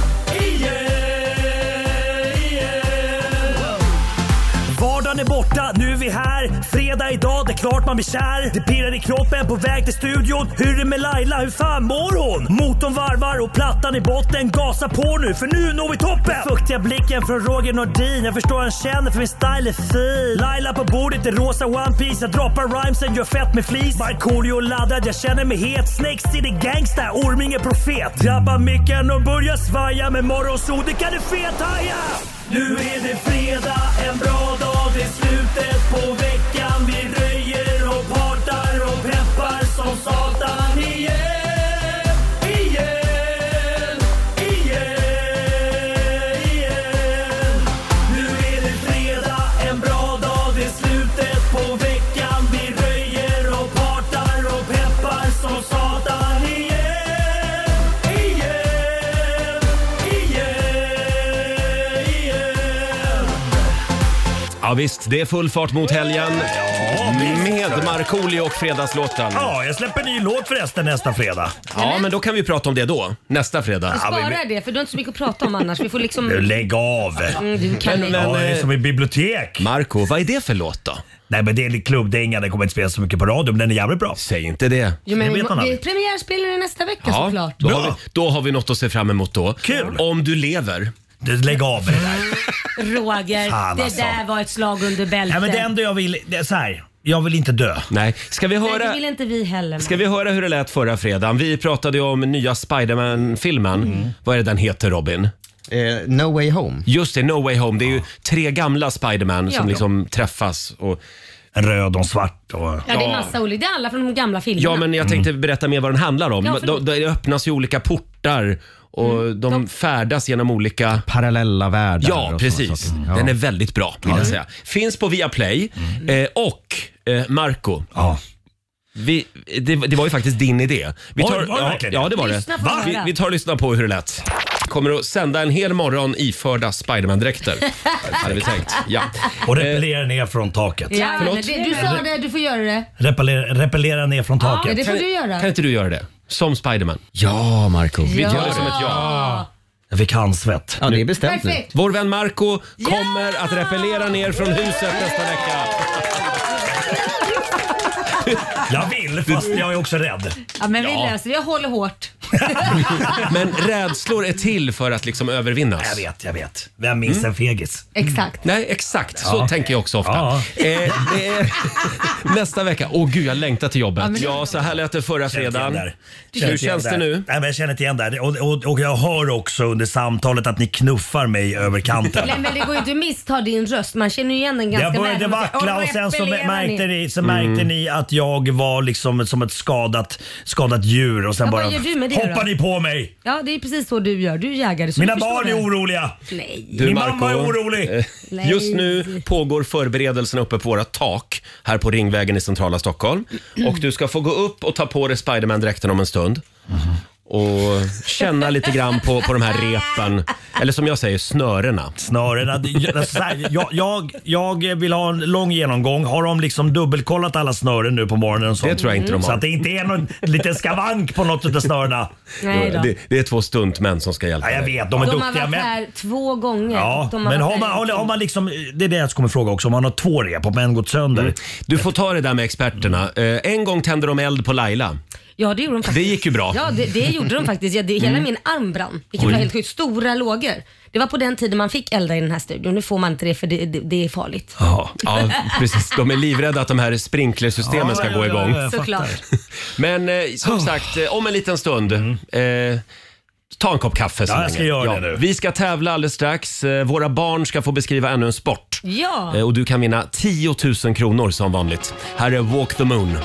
Speaker 2: *laughs*
Speaker 9: igen, igen. Vardagen är borta, nu är vi här. Fredag idag, det är klart man blir kär. Det pirrar i kroppen på väg till studion. Hur är det med Laila, hur fan mår hon? Motorn varvar och plattan i botten. Gasa på nu, för nu når vi toppen! Den fuktiga blicken från Roger Nordin. Jag förstår han känner för min style är fin. Laila på bordet i rosa One Piece Jag droppar rhymesen, gör fett med flis. Markoolio laddad, jag känner mig het. Snake City Gangsta, Orminge profet. Drabbar micken och börjar svaja. Med morgonsol, det kan du fethaja! Nu är det fredag, en bra dag, det är slutet på veckan. Vi röjer och partar och peppar som satan igen. Igen, igen, igen.
Speaker 1: Ja visst, det är full fart mot helgen. Med Markoolio och Fredagslåten.
Speaker 10: Ja, jag släpper ny låt förresten nästa fredag.
Speaker 1: Ja, men då kan vi prata om det då, nästa fredag.
Speaker 2: Spara det, för du har inte så mycket att prata om annars. Vi
Speaker 10: *laughs*
Speaker 2: får liksom...
Speaker 10: Nu, lägg av!
Speaker 2: Mm, du kan
Speaker 1: Men-
Speaker 2: det.
Speaker 1: men- eh,
Speaker 10: Ja, det är som i bibliotek.
Speaker 1: Marco, vad är det för låt då?
Speaker 10: Nej men det är en klubbdänga, den kommer inte spelas så mycket på radio men den är jävligt bra.
Speaker 1: Säg inte det.
Speaker 2: Jo, men
Speaker 10: det vet man
Speaker 2: vi
Speaker 10: aldrig.
Speaker 2: premiärspelar den nästa vecka såklart.
Speaker 1: då, har
Speaker 10: Bra.
Speaker 1: vi, då har vi något att se fram emot då.
Speaker 10: Kul.
Speaker 1: Om du lever. Mm.
Speaker 10: Du, Lägg av med det där.
Speaker 2: Roger,
Speaker 10: Fan,
Speaker 2: det
Speaker 10: alltså.
Speaker 2: där var ett slag under bältet.
Speaker 10: Nej men det enda jag vill, det är så här. jag vill inte dö.
Speaker 1: Nej, ska vi
Speaker 2: Nej, det
Speaker 1: höra...
Speaker 2: vill inte vi heller.
Speaker 1: Ska vi höra hur det lät förra fredagen? Vi pratade ju om nya Spiderman-filmen.
Speaker 2: Mm.
Speaker 1: Vad är det den heter Robin?
Speaker 6: Eh, no way home.
Speaker 1: Just det, No Way Home. Det är ju tre gamla Spiderman
Speaker 2: Ja.
Speaker 1: som liksom träffas. Och...
Speaker 10: En röd och en svart och...
Speaker 2: Ja, det är massa olika. Det är alla från de gamla filmerna.
Speaker 1: Ja, men
Speaker 10: Mm.
Speaker 1: jag tänkte berätta mer vad den handlar om.
Speaker 2: Ja,
Speaker 1: då,
Speaker 2: förlåt. Mm.
Speaker 1: det öppnas ju olika portar och de, färdas genom olika...
Speaker 6: Parallella världar. och
Speaker 1: Ja,
Speaker 6: såna
Speaker 1: precis.
Speaker 6: saker. Ja.
Speaker 1: Den är väldigt bra, vill jag säga. Finns på Viaplay. Eh, och, eh, Marco,
Speaker 10: Mm. Ja.
Speaker 1: vi, det, det var ju faktiskt din idé. Vi
Speaker 10: Var- var det
Speaker 1: ja,
Speaker 10: verkligen det?
Speaker 1: ja, det var det.
Speaker 2: Lyssna på
Speaker 1: Vi,
Speaker 2: det.
Speaker 1: vi tar och lyssnar på hur det lät. Kommer att sända en hel morgon
Speaker 2: *laughs*
Speaker 1: iförda Spiderman-dräkter. hade vi tänkt. Ja. Eh,
Speaker 10: Och repellera ner från taket.
Speaker 2: Ja, men
Speaker 1: Förlåt?
Speaker 2: det, du sa det, du får göra det.
Speaker 10: Repellera, repellera ner från
Speaker 2: Ja, det
Speaker 10: taket.
Speaker 2: får du göra.
Speaker 1: Kan inte du göra det? Som Spiderman. Ja, Marco. Vi tar det som ett ja.
Speaker 10: Jag fick handsvett.
Speaker 6: Ja, det är bestämt nu.
Speaker 2: Perfekt.
Speaker 1: Vår vän Marco kommer att repellera ner från huset nästa vecka.
Speaker 10: *laughs* Jag vill fast jag är också rädd.
Speaker 2: Ja, men
Speaker 1: Ja.
Speaker 2: vi löser det. Jag håller hårt.
Speaker 1: Men rädslor är till för att liksom
Speaker 10: Jag
Speaker 1: övervinnas. Mm.
Speaker 10: vet, jag vet. Vem minns en fegis?
Speaker 2: Exakt.
Speaker 1: Nej, exakt. Så tänker jag också ofta.
Speaker 10: Ja.
Speaker 1: Eh, det är nästa vecka. Åh gud, jag längtar till jobbet.
Speaker 2: men det-
Speaker 1: Ja, så här lät det förra
Speaker 10: Känner inte igen
Speaker 1: fredagen.
Speaker 10: där. Känner
Speaker 1: Hur
Speaker 10: inte igen
Speaker 1: känns det
Speaker 10: där.
Speaker 1: nu?
Speaker 10: Nej, men jag känner inte igen där. Och, och, och jag hör också under samtalet att ni knuffar mig över kanten.
Speaker 2: *laughs* *laughs* Nej, men det går ju, du misstar din röst. Man känner ju igen den ganska
Speaker 10: Jag
Speaker 2: väl.
Speaker 10: började
Speaker 2: när man säger,
Speaker 10: vackla
Speaker 2: "Åh,
Speaker 10: och sen så
Speaker 2: repellerar
Speaker 10: märkte ni, så
Speaker 1: Mm.
Speaker 10: märkte ni att jag var liksom som ett skadat, skadat djur och sen
Speaker 2: Ja,
Speaker 10: bara
Speaker 2: vad gör du med det
Speaker 10: hoppar
Speaker 2: då?
Speaker 10: ni på mig.
Speaker 2: Ja, det är precis så du gör. Du är jägare. Så
Speaker 10: Mina
Speaker 2: du förstår
Speaker 10: barn är
Speaker 2: det.
Speaker 10: oroliga.
Speaker 2: Nej.
Speaker 1: Du,
Speaker 10: Min mamma är orolig.
Speaker 1: eh,
Speaker 2: Nej.
Speaker 1: Just nu pågår förberedelserna uppe på våra tak här på Ringvägen i centrala Stockholm. Och du ska få gå upp och ta på dig Spiderman-dräkten om en stund. Och känna lite grann på, på de här repen. Eller som jag säger, snörena.
Speaker 10: Snörena. det- jag- alltså, så här, Jag, jag, jag vill ha en lång genomgång. Har de liksom dubbelkollat alla snören nu på morgonen? och sånt?
Speaker 1: Det tror jag inte de har.
Speaker 10: Så att det inte är någon liten skavank på något av snörena.
Speaker 2: Nej då.
Speaker 1: Det, det är två stuntmän som ska hjälpa
Speaker 10: Ja, jag
Speaker 1: dig.
Speaker 10: vet, de är
Speaker 2: De har
Speaker 10: duktiga.
Speaker 2: varit
Speaker 10: men-
Speaker 2: här två gånger.
Speaker 10: Ja,
Speaker 2: de
Speaker 10: men
Speaker 2: varit
Speaker 10: har
Speaker 2: här
Speaker 10: man,
Speaker 2: en
Speaker 10: har,
Speaker 2: gång.
Speaker 10: har man liksom, det är det jag kommer fråga också, om man har två rep och en gått sönder.
Speaker 1: Mm. Du får ta det där med experterna. Eh, En gång tände de eld på Laila.
Speaker 2: Ja, det gjorde de faktiskt.
Speaker 1: Det gick ju bra. Mm.
Speaker 2: Ja, det, det gjorde de faktiskt. Ja, det, hela min arm brann, vilket var helt sjukt. Stora lågor. Det var på den tiden man fick elda i den här studion. Nu får man inte det för det, det, det är farligt.
Speaker 1: Ja, precis. De är livrädda att de här sprinklersystemen ska gå igång.
Speaker 10: Jag fattar.
Speaker 2: Såklart.
Speaker 1: Men eh, som sagt, eh, om en liten stund. Eh, Ta en kopp kaffe så
Speaker 10: Mm. Ja, jag ska
Speaker 1: länge.
Speaker 10: göra det nu.
Speaker 1: Vi ska tävla alldeles strax. Eh, Våra barn ska få beskriva ännu en sport.
Speaker 2: Ja.
Speaker 1: Eh, Och du kan vinna 10 000 kronor som vanligt. Här är Walk the Moon.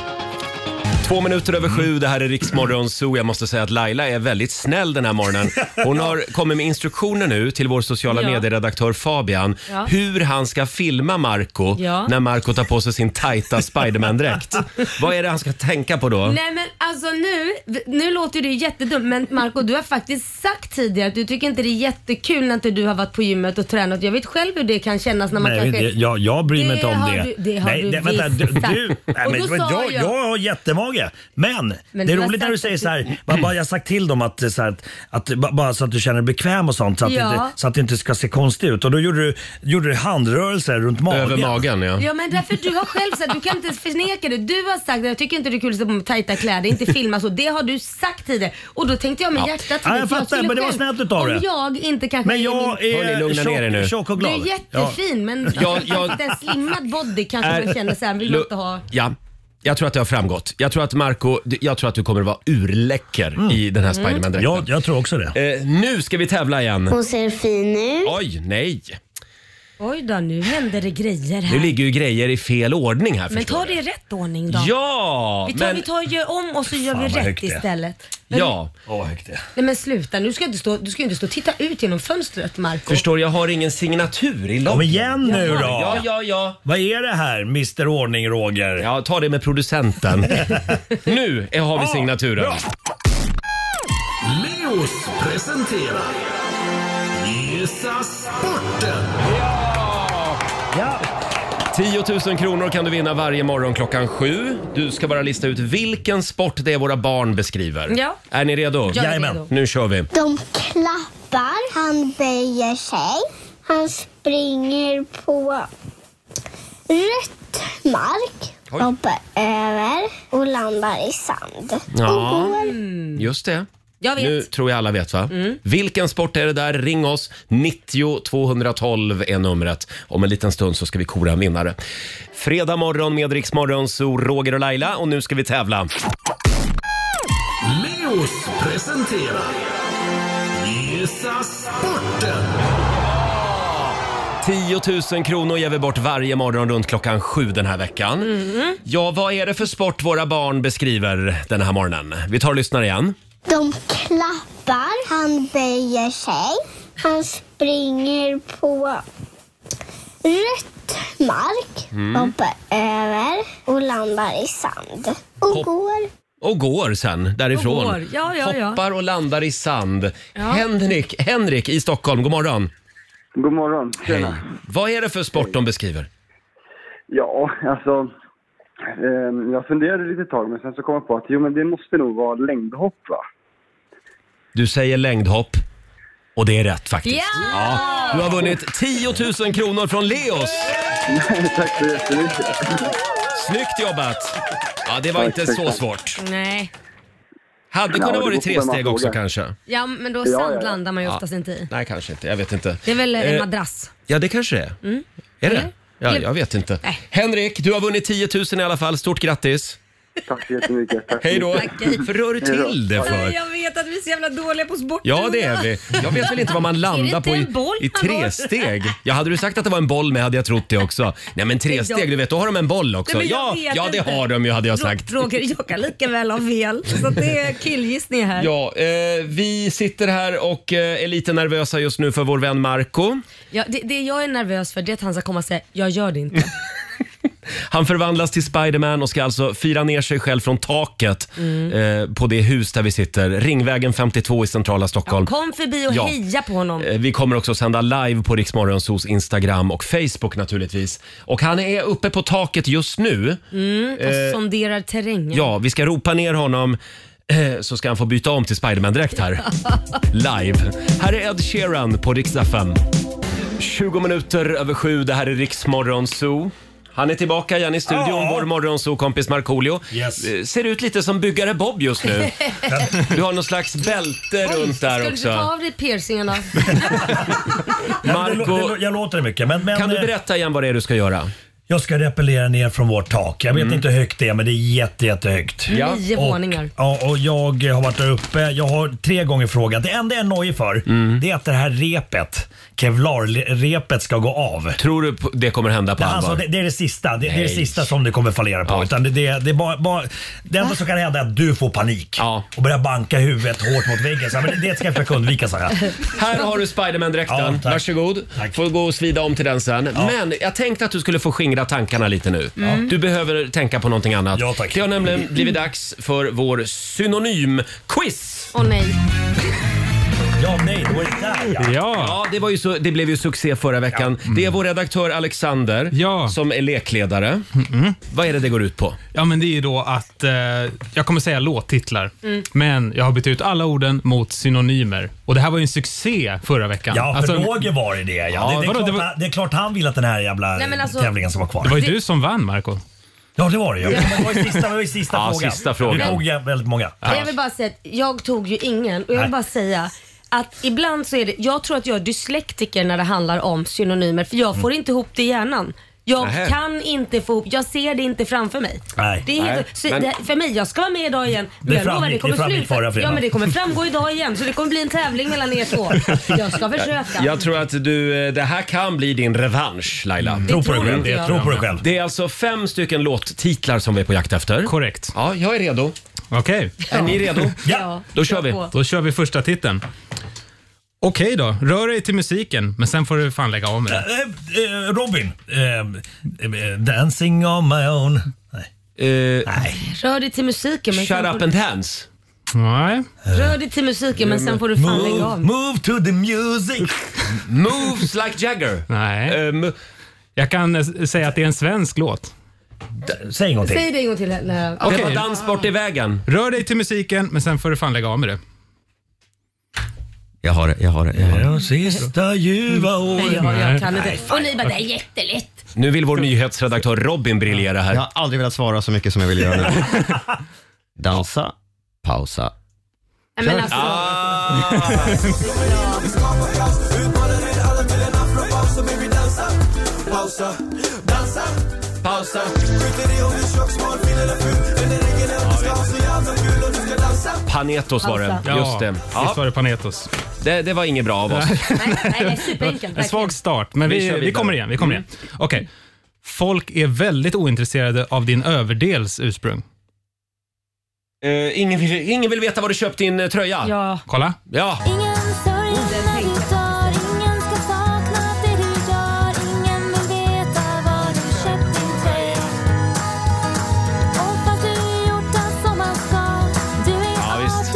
Speaker 1: Två minuter över sju, det här är Riksmorgon Zoo. Jag måste säga att Laila är väldigt snäll den
Speaker 2: *laughs*
Speaker 1: här morgonen. Hon har kommit med instruktioner nu till vår sociala
Speaker 2: Ja.
Speaker 1: medieredaktör Fabian
Speaker 2: Ja.
Speaker 1: hur han ska filma Marco
Speaker 2: Ja.
Speaker 1: när Marco tar på sig sin tajta Spiderman-dräkt.
Speaker 2: *laughs*
Speaker 1: Vad är det han ska tänka på då?
Speaker 2: Nej men alltså nu, nu låter det ju jättedumt men Marco du har faktiskt sagt tidigare att du tycker inte det är jättekul när inte du har varit på gymmet och tränat. Jag vet själv hur det kan kännas när man
Speaker 10: Nej,
Speaker 2: kanske...
Speaker 10: det, jag, jag bryr
Speaker 2: Det
Speaker 10: mig inte om
Speaker 2: har
Speaker 10: det.
Speaker 2: du- det har
Speaker 10: nej,
Speaker 2: du
Speaker 10: nej, vänta,
Speaker 2: visst
Speaker 10: du, du,
Speaker 2: *laughs* sagt.
Speaker 10: nej,
Speaker 2: Och
Speaker 10: men,
Speaker 2: då
Speaker 10: men
Speaker 2: sa
Speaker 10: jag,
Speaker 2: jag-
Speaker 10: jag har jättemage. Men,
Speaker 2: Men
Speaker 10: det är
Speaker 2: du har
Speaker 10: roligt när du
Speaker 2: sagt
Speaker 10: säger
Speaker 2: att
Speaker 10: så här, bara, bara jag har sagt till dem att, så här, att ba- bara så att du känner dig bekväm och sånt så att,
Speaker 2: Ja.
Speaker 10: det, inte, så att det inte ska se konstigt ut. Och då gjorde du, gjorde du handrörelser runt magen.
Speaker 1: Över magen ja.
Speaker 2: Ja men därför du har själv sagt, du kan inte förneka det. Du har sagt att jag tycker inte det är kul att stå på mig med tajta kläder, inte filma så. Det har du sagt tidigare. Och då tänkte jag med hjärtat till
Speaker 10: Ja,
Speaker 2: dig,
Speaker 10: jag
Speaker 2: för
Speaker 10: fattar,
Speaker 2: skulle
Speaker 10: men det var
Speaker 2: själv-
Speaker 10: snällt utav
Speaker 2: Om
Speaker 10: dig.
Speaker 2: jag inte kanske...
Speaker 10: Men
Speaker 2: är
Speaker 10: jag
Speaker 2: min-
Speaker 1: Hörni,
Speaker 10: är
Speaker 1: lugna ner er nu.
Speaker 10: tjock, tjock och
Speaker 2: Du
Speaker 10: glad.
Speaker 2: är jättefin men
Speaker 1: Ja, jag-
Speaker 2: en slimmad body kanske man känner såhär, vill man inte ha.
Speaker 1: Ja. Jag tror att det har framgått. Jag tror att Marco, jag tror att du kommer att vara urläcker i den här Spiderman-dräkten.
Speaker 10: Mm. Ja, jag tror också det.
Speaker 1: Eh, nu ska vi tävla igen.
Speaker 11: Hon ser fin ut.
Speaker 1: Oj, nej.
Speaker 2: Oj då, nu händer det grejer
Speaker 1: Nu
Speaker 2: här.
Speaker 1: ligger ju grejer i fel ordning här
Speaker 2: Men
Speaker 1: förstår
Speaker 2: ta
Speaker 1: du.
Speaker 2: det i rätt ordning då.
Speaker 1: Ja!
Speaker 2: Vi tar,
Speaker 1: men,
Speaker 2: vi tar och gör om och så gör vi
Speaker 10: vad högt
Speaker 2: rätt
Speaker 10: det är.
Speaker 2: istället. Men,
Speaker 1: ja.
Speaker 10: Åh, vad högt det är.
Speaker 2: Nej men sluta, nu ska jag inte stå, du ska ju inte stå och titta ut genom fönstret Marco.
Speaker 1: Förstår, jag har ingen signatur i loggen.
Speaker 10: Kom igen nu då!
Speaker 1: Ja, ja, ja.
Speaker 10: Vad är det här Mr Ordning Roger?
Speaker 1: Ja, ta det
Speaker 10: *laughs*
Speaker 1: med producenten. nu är- har vi signaturen.
Speaker 10: Ah, bra.
Speaker 3: Leos presenterar Gissa sporten!
Speaker 10: Ja.
Speaker 1: 10 000 kronor kan du vinna varje morgon klockan sju. Du ska bara lista ut vilken sport det är våra barn beskriver.
Speaker 2: Ja.
Speaker 1: Är ni redo?
Speaker 2: Jag är
Speaker 10: Jajamän.
Speaker 2: redo.
Speaker 1: Nu kör vi.
Speaker 11: De klappar, han böjer sig, han springer på rött mark,
Speaker 1: Oj.
Speaker 11: hoppar över och landar i sand.
Speaker 1: Ja, Mm. just det.
Speaker 2: Oh, Jag vet. Mm.
Speaker 1: Nu tror jag alla vet va? Vilken sport är det där? Ring oss. 90 212 är numret. Om en liten stund så ska vi kora en vinnare. Fredag morgon med Rix Morgon, så Roger och Laila och nu ska vi tävla.
Speaker 3: Leos presenterar Gissa sporten.
Speaker 1: 10 000 kronor ger vi bort varje morgon runt klockan sju den här veckan. Ja, vad är det för sport våra barn beskriver den här morgonen? Vi tar och lyssnar igen.
Speaker 11: De klappar, han böjer sig, han springer på rött mark,
Speaker 1: Mm.
Speaker 11: hoppar över och landar i sand. Och
Speaker 1: Hopp-
Speaker 11: går.
Speaker 1: Och går sen därifrån.
Speaker 9: Och går. Ja, ja, ja.
Speaker 1: Hoppar och landar i sand. Henrik, Henrik i Stockholm, god morgon.
Speaker 12: God morgon. Tjena.
Speaker 1: Vad är det för sport de beskriver?
Speaker 12: Ja, alltså. ehm, jag funderade lite tag, men sen så kom jag på att jo, men det måste nog vara längdhopp, va?
Speaker 1: Du säger längdhopp och det är rätt faktiskt.
Speaker 2: Ja!
Speaker 1: Du har vunnit 10 000 kronor från Leos.
Speaker 12: *laughs* Tack så jättemycket.
Speaker 1: Snyggt jobbat! Ja, det var
Speaker 12: Tack,
Speaker 1: inte
Speaker 12: tack,
Speaker 1: så
Speaker 12: tack.
Speaker 1: svårt.
Speaker 2: Nej.
Speaker 1: Hade
Speaker 12: Ja,
Speaker 1: kunnat
Speaker 12: det
Speaker 1: vara
Speaker 12: beror på vem
Speaker 1: tre
Speaker 12: man
Speaker 1: steg också
Speaker 12: frågar.
Speaker 1: kanske.
Speaker 2: Ja, men då
Speaker 12: ja, ja.
Speaker 2: sand landar man ju oftast inte i.
Speaker 1: Nej, kanske inte. Jag vet inte.
Speaker 2: Det är väl en
Speaker 1: Eh,
Speaker 2: madrass. Mm.
Speaker 1: Ja, det kanske det är. Är det? Ja,
Speaker 2: Eller-
Speaker 1: jag vet inte.
Speaker 2: Nej.
Speaker 1: Henrik, du har vunnit 10 000 i alla fall. Stort grattis!
Speaker 12: Tack så jättemycket. Tack så
Speaker 1: Hej då!
Speaker 12: mycket.
Speaker 2: Tack.
Speaker 1: Varför rör du till det för?
Speaker 2: jag vet att vi är så jävla dåliga på sport.
Speaker 1: Ja, det är vi. Jag vet väl inte
Speaker 2: *laughs*
Speaker 1: vad man landar
Speaker 2: inte
Speaker 1: på i,
Speaker 2: en boll
Speaker 1: i
Speaker 2: han har?
Speaker 1: tre steg. Ja, hade du sagt att det var en boll med hade jag trott det också. Nej, men tre steg, du vet, då har de en boll också.
Speaker 2: Nej, men jag
Speaker 1: ja,
Speaker 2: vet
Speaker 1: ja, det
Speaker 2: inte.
Speaker 1: har de ju hade jag
Speaker 2: *laughs*
Speaker 1: sagt.
Speaker 2: Roger, jag kan lika väl ha fel. Så att det är killgissningar här.
Speaker 1: Ja, eh, vi sitter här och eh, är lite nervösa just nu för vår vän Marco.
Speaker 2: Ja, det, det jag är nervös för det är att han ska komma och säga “jag gör det
Speaker 1: *laughs*
Speaker 2: inte”.
Speaker 1: Han förvandlas till Spiderman och ska alltså fira ner sig själv från taket
Speaker 2: Mm.
Speaker 1: eh, på det hus där vi sitter. Ringvägen 52 i centrala Stockholm.
Speaker 2: Kom förbi och
Speaker 1: Ja.
Speaker 2: heja på honom.
Speaker 1: Eh, Vi kommer också sända live på Riksmorgonsos Instagram och Facebook naturligtvis. Och han är uppe på taket just nu.
Speaker 2: Mm, Och sonderar terrängen.
Speaker 1: eh, Ja, vi ska ropa ner honom eh, så ska han få byta om till
Speaker 2: *laughs*
Speaker 1: Spiderman-dräkt
Speaker 10: *laughs*
Speaker 1: här. Eh, Live. Här är Ed Sheeran på riksdag 5. 20 minuter över sju, det här är Riksmorgon Zoo. Han är tillbaka igen i studion,
Speaker 10: Ja.
Speaker 1: vår morgonzoo-kompis Markoolio.
Speaker 10: Yes.
Speaker 1: Eh, Ser ut lite som byggare Bob
Speaker 10: *laughs*
Speaker 1: just nu. Du har någon slags bälte runt där
Speaker 2: Skulle du ta
Speaker 1: också.
Speaker 2: av dig piercingarna?
Speaker 10: Marco... Jag,
Speaker 1: Marco,
Speaker 10: låter det mycket. Men, men,
Speaker 1: kan du
Speaker 10: eh,
Speaker 1: berätta igen vad det är du ska göra?
Speaker 10: Jag ska repellera ner från vårt tak. Jag vet
Speaker 1: Mm.
Speaker 10: inte hur högt det är men det är jätte, jättehögt.
Speaker 1: Ja.
Speaker 2: Nio våningar.
Speaker 10: Ja, och jag har varit där uppe. Jag har tre gånger frågat. Det enda jag är nojig för,
Speaker 1: Mm.
Speaker 10: det är att det här repet, kevlarrepet, ska gå av.
Speaker 1: Tror du på- det kommer hända på
Speaker 10: Alltså, det,
Speaker 1: allvar?
Speaker 10: det är det sista det, det är det
Speaker 1: Nej.
Speaker 10: sista som det kommer fallera på.
Speaker 1: Ja.
Speaker 10: Utan det, det, det, är bara, bara, det enda som kan hända är att du får panik
Speaker 1: Ja.
Speaker 10: och börjar banka huvudet hårt mot väggen. Så, här, men det, det ska jag försöka undvika, sa
Speaker 2: *laughs*
Speaker 10: jag.
Speaker 1: Här har du Spiderman-dräkten.
Speaker 10: Ja, tack.
Speaker 1: Varsågod.
Speaker 10: Tack.
Speaker 1: Får gå och svida om till den sen. Men jag tänkte att du skulle få skingra tankarna lite nu. Du behöver tänka på någonting annat.
Speaker 10: Mm. Ja, tack.
Speaker 1: Det har nämligen
Speaker 10: *clears throat*
Speaker 1: blivit dags för vår synonym-quiz.
Speaker 2: Åh nej.
Speaker 10: Ja, nej, det var det där ja. Mm.
Speaker 1: Ja, det, var ju så, det blev ju succé förra veckan. Det är vår redaktör Alexander
Speaker 13: Ja.
Speaker 1: som är lekledare. Vad är det det går ut på?
Speaker 13: Ja, men det är ju då att eh, jag kommer säga låttitlar,
Speaker 2: Mm.
Speaker 13: men jag har bytt ut alla orden mot synonymer. Och det här var ju en succé förra veckan.
Speaker 10: Ja, för
Speaker 13: Alltså,
Speaker 10: Roger var det det. Ja. det, det, är
Speaker 13: vadå,
Speaker 10: klart,
Speaker 13: det var-
Speaker 10: det är klart han vill att den här jävla
Speaker 2: Nej, men alltså-
Speaker 10: tävlingen ska vara kvar.
Speaker 13: det var ju du som vann, Marco.
Speaker 10: Ja, det var det ju. Men Det var ju sista, det var ju sista
Speaker 1: *laughs* Ja,
Speaker 10: frågan.
Speaker 1: sista frågan.
Speaker 10: Du tog ju väldigt många.
Speaker 2: Jag vill bara säga att jag tog ju ingen och jag
Speaker 10: Nej.
Speaker 2: vill bara säga att ibland så är det, jag tror att jag är dyslektiker när det handlar om synonymer för jag får inte ihop det i hjärnan. Jag
Speaker 1: Nähä.
Speaker 2: kan inte få ihop, jag ser det inte framför mig.
Speaker 10: Nej.
Speaker 2: Det är helt,
Speaker 1: Nej,
Speaker 2: så
Speaker 1: men-
Speaker 2: det, för mig, jag ska vara med idag igen. Men
Speaker 10: Det
Speaker 2: jag lovar,
Speaker 10: framgick- det framgick förra
Speaker 2: Ja
Speaker 10: fredagen.
Speaker 2: men det kommer framgå idag igen så det kommer bli en tävling mellan er två. *laughs* Jag ska försöka.
Speaker 1: *laughs* Jag tror att du, eh, det här kan bli din revansch Laila.
Speaker 10: Mm. Tro på dig själv.
Speaker 2: inte jag.
Speaker 10: Tro på dig själv.
Speaker 1: Det är alltså fem stycken låttitlar som vi är på jakt efter.
Speaker 13: Korrekt.
Speaker 1: Ja, jag är redo.
Speaker 13: Okej,
Speaker 1: Är ni redo?
Speaker 2: Ja,
Speaker 1: Då kör vi.
Speaker 2: på.
Speaker 13: då kör vi första titeln. Okej då, rör dig till musiken, men sen får du fan lägga av med det.
Speaker 10: Eh, eh, Robin. Eh, eh, dancing on my own. Nej.
Speaker 1: Eh,
Speaker 2: Rör dig till musiken men
Speaker 1: Shut
Speaker 2: sen
Speaker 1: up
Speaker 2: får,
Speaker 1: and dance.
Speaker 13: Nej.
Speaker 2: rör dig till musiken men sen får du fan lägga
Speaker 10: Move,
Speaker 2: av.
Speaker 10: move to the music.
Speaker 1: Moves like Jagger.
Speaker 13: Nej.
Speaker 1: Ehm,
Speaker 13: Jag kan eh, säga att det är en svensk låt.
Speaker 10: Säg en gång
Speaker 2: Säg det en gång till. Läraren.
Speaker 13: Okej.
Speaker 2: Ja.
Speaker 1: bort i vägen.
Speaker 13: Rör dig till musiken, men sen får du fan lägga av med det.
Speaker 6: Jag har det, jag har det. Jag har det.
Speaker 10: sista ljuva
Speaker 2: Nej, jag, jag kan inte.
Speaker 6: Nej,
Speaker 2: Och ni bara, det är jättelätt.
Speaker 1: Nu vill vår nyhetsredaktör Robin briljera här.
Speaker 6: Jag har aldrig velat svara så mycket som jag vill göra nu. Dansa, pausa.
Speaker 2: Nej, men alltså.
Speaker 3: Pausa, dansa, pausa. Skiter i om du är tjock, smal, fin eller ful. Under regn eller ska ha så jävla kul och du ska dansa.
Speaker 1: Panetos var det.
Speaker 13: Ja,
Speaker 1: Just det.
Speaker 13: visst var det Panetos.
Speaker 1: Det, det var inget bra av oss.
Speaker 13: En svag start, men
Speaker 1: Vi
Speaker 13: vi,
Speaker 1: kör
Speaker 13: vi,
Speaker 1: vidare. Mm.
Speaker 13: kommer igen. Vi kommer igen. Okej. Folk är väldigt ointresserade av din överdels ursprung.
Speaker 1: *laughs* Eh, ingen, vill, ingen vill veta var du köpt din eh, tröja.
Speaker 2: Ja.
Speaker 13: Kolla.
Speaker 1: Ja. Ja, visst.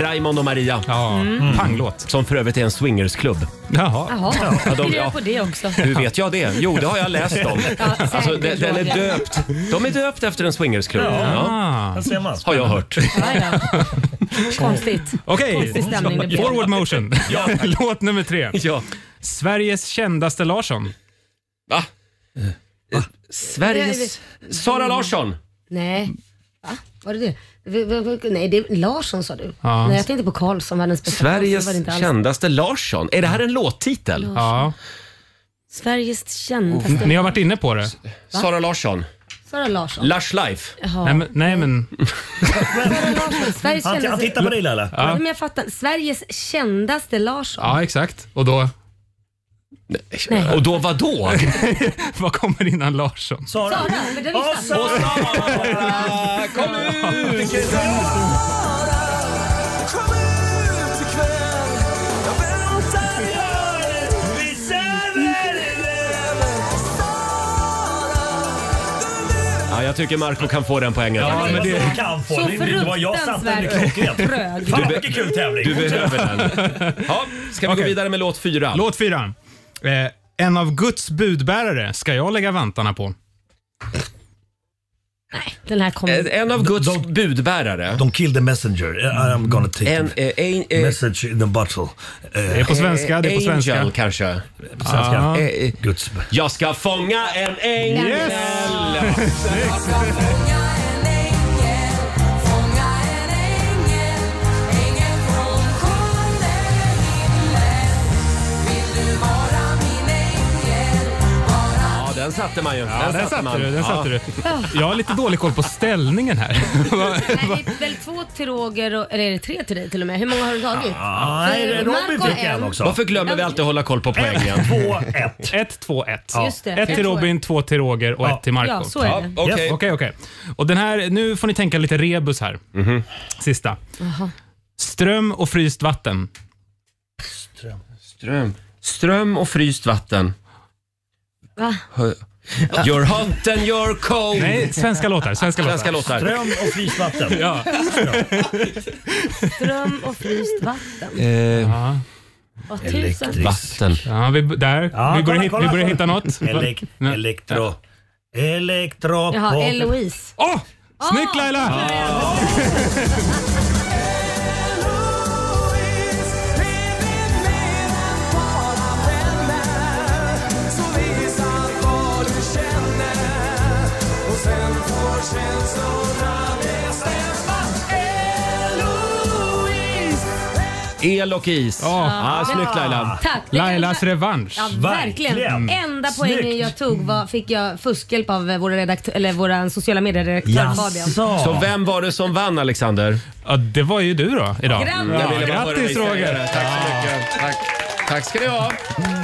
Speaker 1: Raymond och Maria.
Speaker 13: Ja.
Speaker 2: Mm.
Speaker 13: Panglåt.
Speaker 1: Som för övrigt är en swingersklubb.
Speaker 2: Jaha,
Speaker 1: Ja, de-
Speaker 2: fick du
Speaker 1: ja.
Speaker 2: reda på det också?
Speaker 1: Hur vet jag det? Jo, det har jag läst om.
Speaker 2: Ja,
Speaker 1: Alltså, de-
Speaker 2: säkert,
Speaker 1: den är
Speaker 2: Roger.
Speaker 1: döpt. De är döpt efter en swingersklubb.
Speaker 13: Ja. Ah.
Speaker 10: Där ser man.
Speaker 1: Har jag hört.
Speaker 2: Konstigt.
Speaker 13: Okej,
Speaker 2: Konstig stämning det blev.
Speaker 13: forward motion.
Speaker 1: *laughs* Ja.
Speaker 13: Låt nummer tre.
Speaker 1: Ja.
Speaker 13: Sveriges kändaste Larsson.
Speaker 1: Va? Sveriges... Sara Larsson!
Speaker 2: Nej. Va? Var det det? V- v- v- Nej, det är Larsson sa du.
Speaker 1: Ja.
Speaker 2: Nej, jag tänkte på Karlsson, världens bästa. Karlsson var det
Speaker 1: Sveriges
Speaker 2: inte alls.
Speaker 1: kändaste Larsson. Är det här en låttitel?
Speaker 13: Ja.
Speaker 2: Sveriges kändaste.
Speaker 1: Mm.
Speaker 13: Ni har varit inne på det.
Speaker 1: Sara Larsson.
Speaker 2: Sara Larsson.
Speaker 1: Lars Life.
Speaker 2: Jaha.
Speaker 13: Nej men... Nej, men
Speaker 2: Sara Larsson. Sveriges
Speaker 10: Han, han
Speaker 2: kändaste...
Speaker 10: tittar på dig Laila.
Speaker 2: Ja. Men jag fattar. Sveriges kändaste Larsson.
Speaker 13: ja, exakt. Och då,
Speaker 2: Nej.
Speaker 1: Och då vadå?
Speaker 13: *laughs* vad kommer innan Larsson?
Speaker 10: Sara.
Speaker 2: Sara, men det
Speaker 10: Och
Speaker 2: visste han.
Speaker 10: Sara.
Speaker 1: Sara, kom ut!
Speaker 3: Kom ut ikväll. Jag väntar i hörnet.
Speaker 10: Vi sänder det.
Speaker 1: Ja, jag tycker Marco kan få den poängen.
Speaker 13: Ja, men
Speaker 10: Det
Speaker 13: det-
Speaker 10: du kan få.
Speaker 2: Så
Speaker 10: Det, det var jag satte den i
Speaker 3: Alltså,
Speaker 2: fruktansvärt
Speaker 10: klockrent.
Speaker 2: trög.
Speaker 10: Fan vilken kul tävling.
Speaker 1: Du behöver den. Ja, ska vi gå
Speaker 13: Okej.
Speaker 1: vidare med låt fyra?
Speaker 13: Låt fyra. Eh, en av Guds budbärare ska jag lägga vantarna på.
Speaker 2: Nej, den här
Speaker 1: En-
Speaker 2: kommer.
Speaker 1: Eh, En av Guds
Speaker 10: de-
Speaker 1: budbärare.
Speaker 10: Don't kill the messenger. Eh, I'm gonna take
Speaker 1: En, eh, en, eh,
Speaker 10: message in the bottle.
Speaker 13: Det är på svenska, det är på
Speaker 1: angel
Speaker 13: svenska.
Speaker 1: kanske.
Speaker 10: svenska.
Speaker 1: Eh, eh,
Speaker 10: Guds...
Speaker 1: Jag ska fånga en ängel.
Speaker 13: Yes!
Speaker 1: Ja, den satte man ju. Den,
Speaker 13: Ja, den satte du. Den satte du. Jag har lite dålig koll på ställningen här.
Speaker 2: Nej, det är väl två till Roger, och, eller är det tre till dig till och med? Hur många har du tagit?
Speaker 13: *laughs*
Speaker 10: Nej, Robin
Speaker 2: Marco
Speaker 10: fick en
Speaker 2: en.
Speaker 10: också.
Speaker 1: Varför glömmer vi alltid hålla koll på
Speaker 13: *laughs*
Speaker 1: poängen?
Speaker 10: 2-1.
Speaker 13: 1, 2, 1.
Speaker 2: Just det.
Speaker 13: 1 till
Speaker 2: Ett, två,
Speaker 13: Robin, 2 till Roger och 1
Speaker 10: Ja.
Speaker 13: till Marco.
Speaker 2: Ja, så är det.
Speaker 1: Okej.
Speaker 13: Okej, okej. Och den här, nu får ni tänka lite rebus här.
Speaker 1: Mhm.
Speaker 13: Sista. Ström och fryst vatten.
Speaker 1: Ström. Ström och fryst vatten.
Speaker 2: Va?
Speaker 1: Hö- You're hot and you're cold.
Speaker 13: Nej, svenska låtar. Svenska låtar.
Speaker 1: Svenska låtar.
Speaker 10: Ström och frysvatten.
Speaker 13: Ja.
Speaker 2: Ström och fryst vatten.
Speaker 1: Eh,
Speaker 13: Ja.
Speaker 2: Vad tusan.
Speaker 1: vatten.
Speaker 13: Ja, vi, där.
Speaker 10: Ja,
Speaker 13: vi, börjar
Speaker 10: kolla,
Speaker 13: hitta,
Speaker 10: kolla,
Speaker 13: vi börjar
Speaker 10: kolla.
Speaker 13: hitta något.
Speaker 10: Elek-
Speaker 13: Nej.
Speaker 10: elektro. Elektro.
Speaker 2: Jaha,
Speaker 10: på-
Speaker 2: Eloise.
Speaker 13: Åh! snyggt Laila!
Speaker 3: Louise, är det mer än bara vänner? Så visa vad du känner. Och sen får känslorna bestämma. Eloise.
Speaker 1: El och is.
Speaker 13: Ja.
Speaker 1: Ah, snyggt Laila.
Speaker 2: Tack. Det
Speaker 13: Lailas
Speaker 2: är-
Speaker 13: revansch.
Speaker 2: Ja,
Speaker 10: Verkligen.
Speaker 2: verkligen.
Speaker 10: Mm.
Speaker 2: Enda
Speaker 10: Snyggt.
Speaker 2: poängen jag tog var, fick jag fuskhjälp av eh, vår, redaktör, eller vår sociala medieredaktör Fabian.
Speaker 1: Så
Speaker 10: Jaså.
Speaker 1: vem var det som vann Alexander?
Speaker 13: Ja, det var ju du då idag.
Speaker 2: Grattis!
Speaker 13: Ja,
Speaker 1: Jag ville bara höra dig
Speaker 13: grattis
Speaker 1: säga
Speaker 13: Roger!
Speaker 1: det. Tack så mycket. Tack. Tack ska ni ha.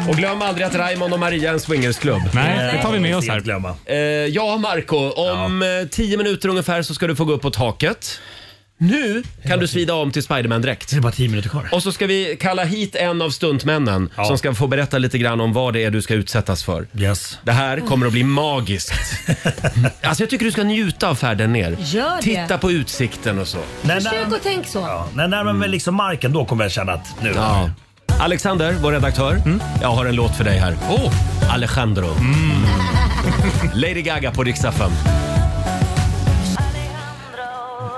Speaker 1: Och glöm aldrig att Raymond och Maria är en swingersklubb.
Speaker 13: Nej, det tar vi med oss
Speaker 10: Inte
Speaker 13: här.
Speaker 10: glömma.
Speaker 1: Eh, ja, Marco. Om eh, tio minuter ungefär så ska du få gå upp på taket. Nu kan du svida om till Spiderman-dräkt.
Speaker 10: Det är bara tio minuter kvar.
Speaker 1: Och så ska vi kalla hit en av stuntmännen som ska få berätta lite grann om vad det är du ska utsättas för.
Speaker 10: Yes.
Speaker 1: Det här kommer att bli magiskt. Alltså jag tycker du ska njuta av färden ner.
Speaker 2: Gör det.
Speaker 1: Titta på utsikten och så.
Speaker 10: När, när,
Speaker 2: Försök att tänk så.
Speaker 10: ja, när jag närmar mig liksom marken då kommer jag känna att nu...
Speaker 1: Ja. Alexander, vår redaktör. Jag har en låt för dig här. Oh. Alejandro. *laughs* Lady Gaga på Rix FM.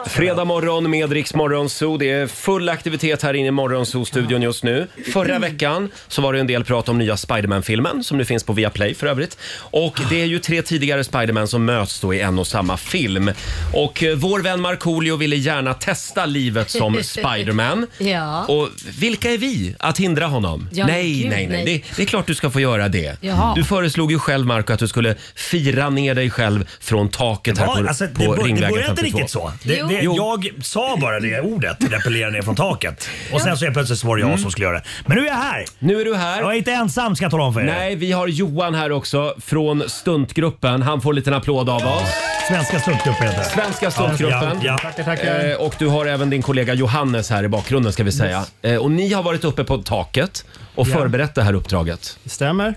Speaker 1: Fredag morgon med Rix Morgonzoo. Det är full aktivitet här inne i Morgonzoo-studion just nu.
Speaker 2: Mm.
Speaker 1: Förra veckan så var det en del prat om nya Spiderman-filmen som nu finns på Viaplay för övrigt. Och det är ju tre tidigare Spiderman som möts då i en och samma film. Och eh, vår vän Markoolio ville gärna testa
Speaker 2: *laughs*
Speaker 1: livet som Spiderman.
Speaker 2: Ja.
Speaker 1: Och vilka är vi att hindra honom?
Speaker 2: Ja,
Speaker 1: nej,
Speaker 2: gud,
Speaker 1: nej, nej,
Speaker 2: nej.
Speaker 1: Det, det är klart du ska få göra det.
Speaker 2: Jaha.
Speaker 1: Du föreslog ju själv, Marco, att du skulle fira ner dig själv från taket här
Speaker 10: Ja,
Speaker 1: på,
Speaker 10: alltså, det,
Speaker 1: på
Speaker 10: bör, det
Speaker 1: Ringvägen
Speaker 10: började inte
Speaker 1: 52.
Speaker 10: riktigt så. Det, det,
Speaker 1: Jo.
Speaker 10: jag sa bara det ordet, repellera ner från taket. Och sen så helt plötsligt så var det
Speaker 1: Mm.
Speaker 10: jag som skulle göra det. Men nu är jag här!
Speaker 1: Nu är du här.
Speaker 10: Jag är inte ensam ska jag tala om för er.
Speaker 1: Nej, vi har Johan här också från stuntgruppen. Han får en liten applåd av oss.
Speaker 10: Svenska stuntgruppen heter det.
Speaker 1: Svenska stuntgruppen.
Speaker 10: Ja, ja.
Speaker 1: Eh, och du har även din kollega Johannes här i bakgrunden ska vi säga. Eh, och ni har varit uppe på taket och
Speaker 14: Ja.
Speaker 1: förberett det här uppdraget.
Speaker 14: Det stämmer.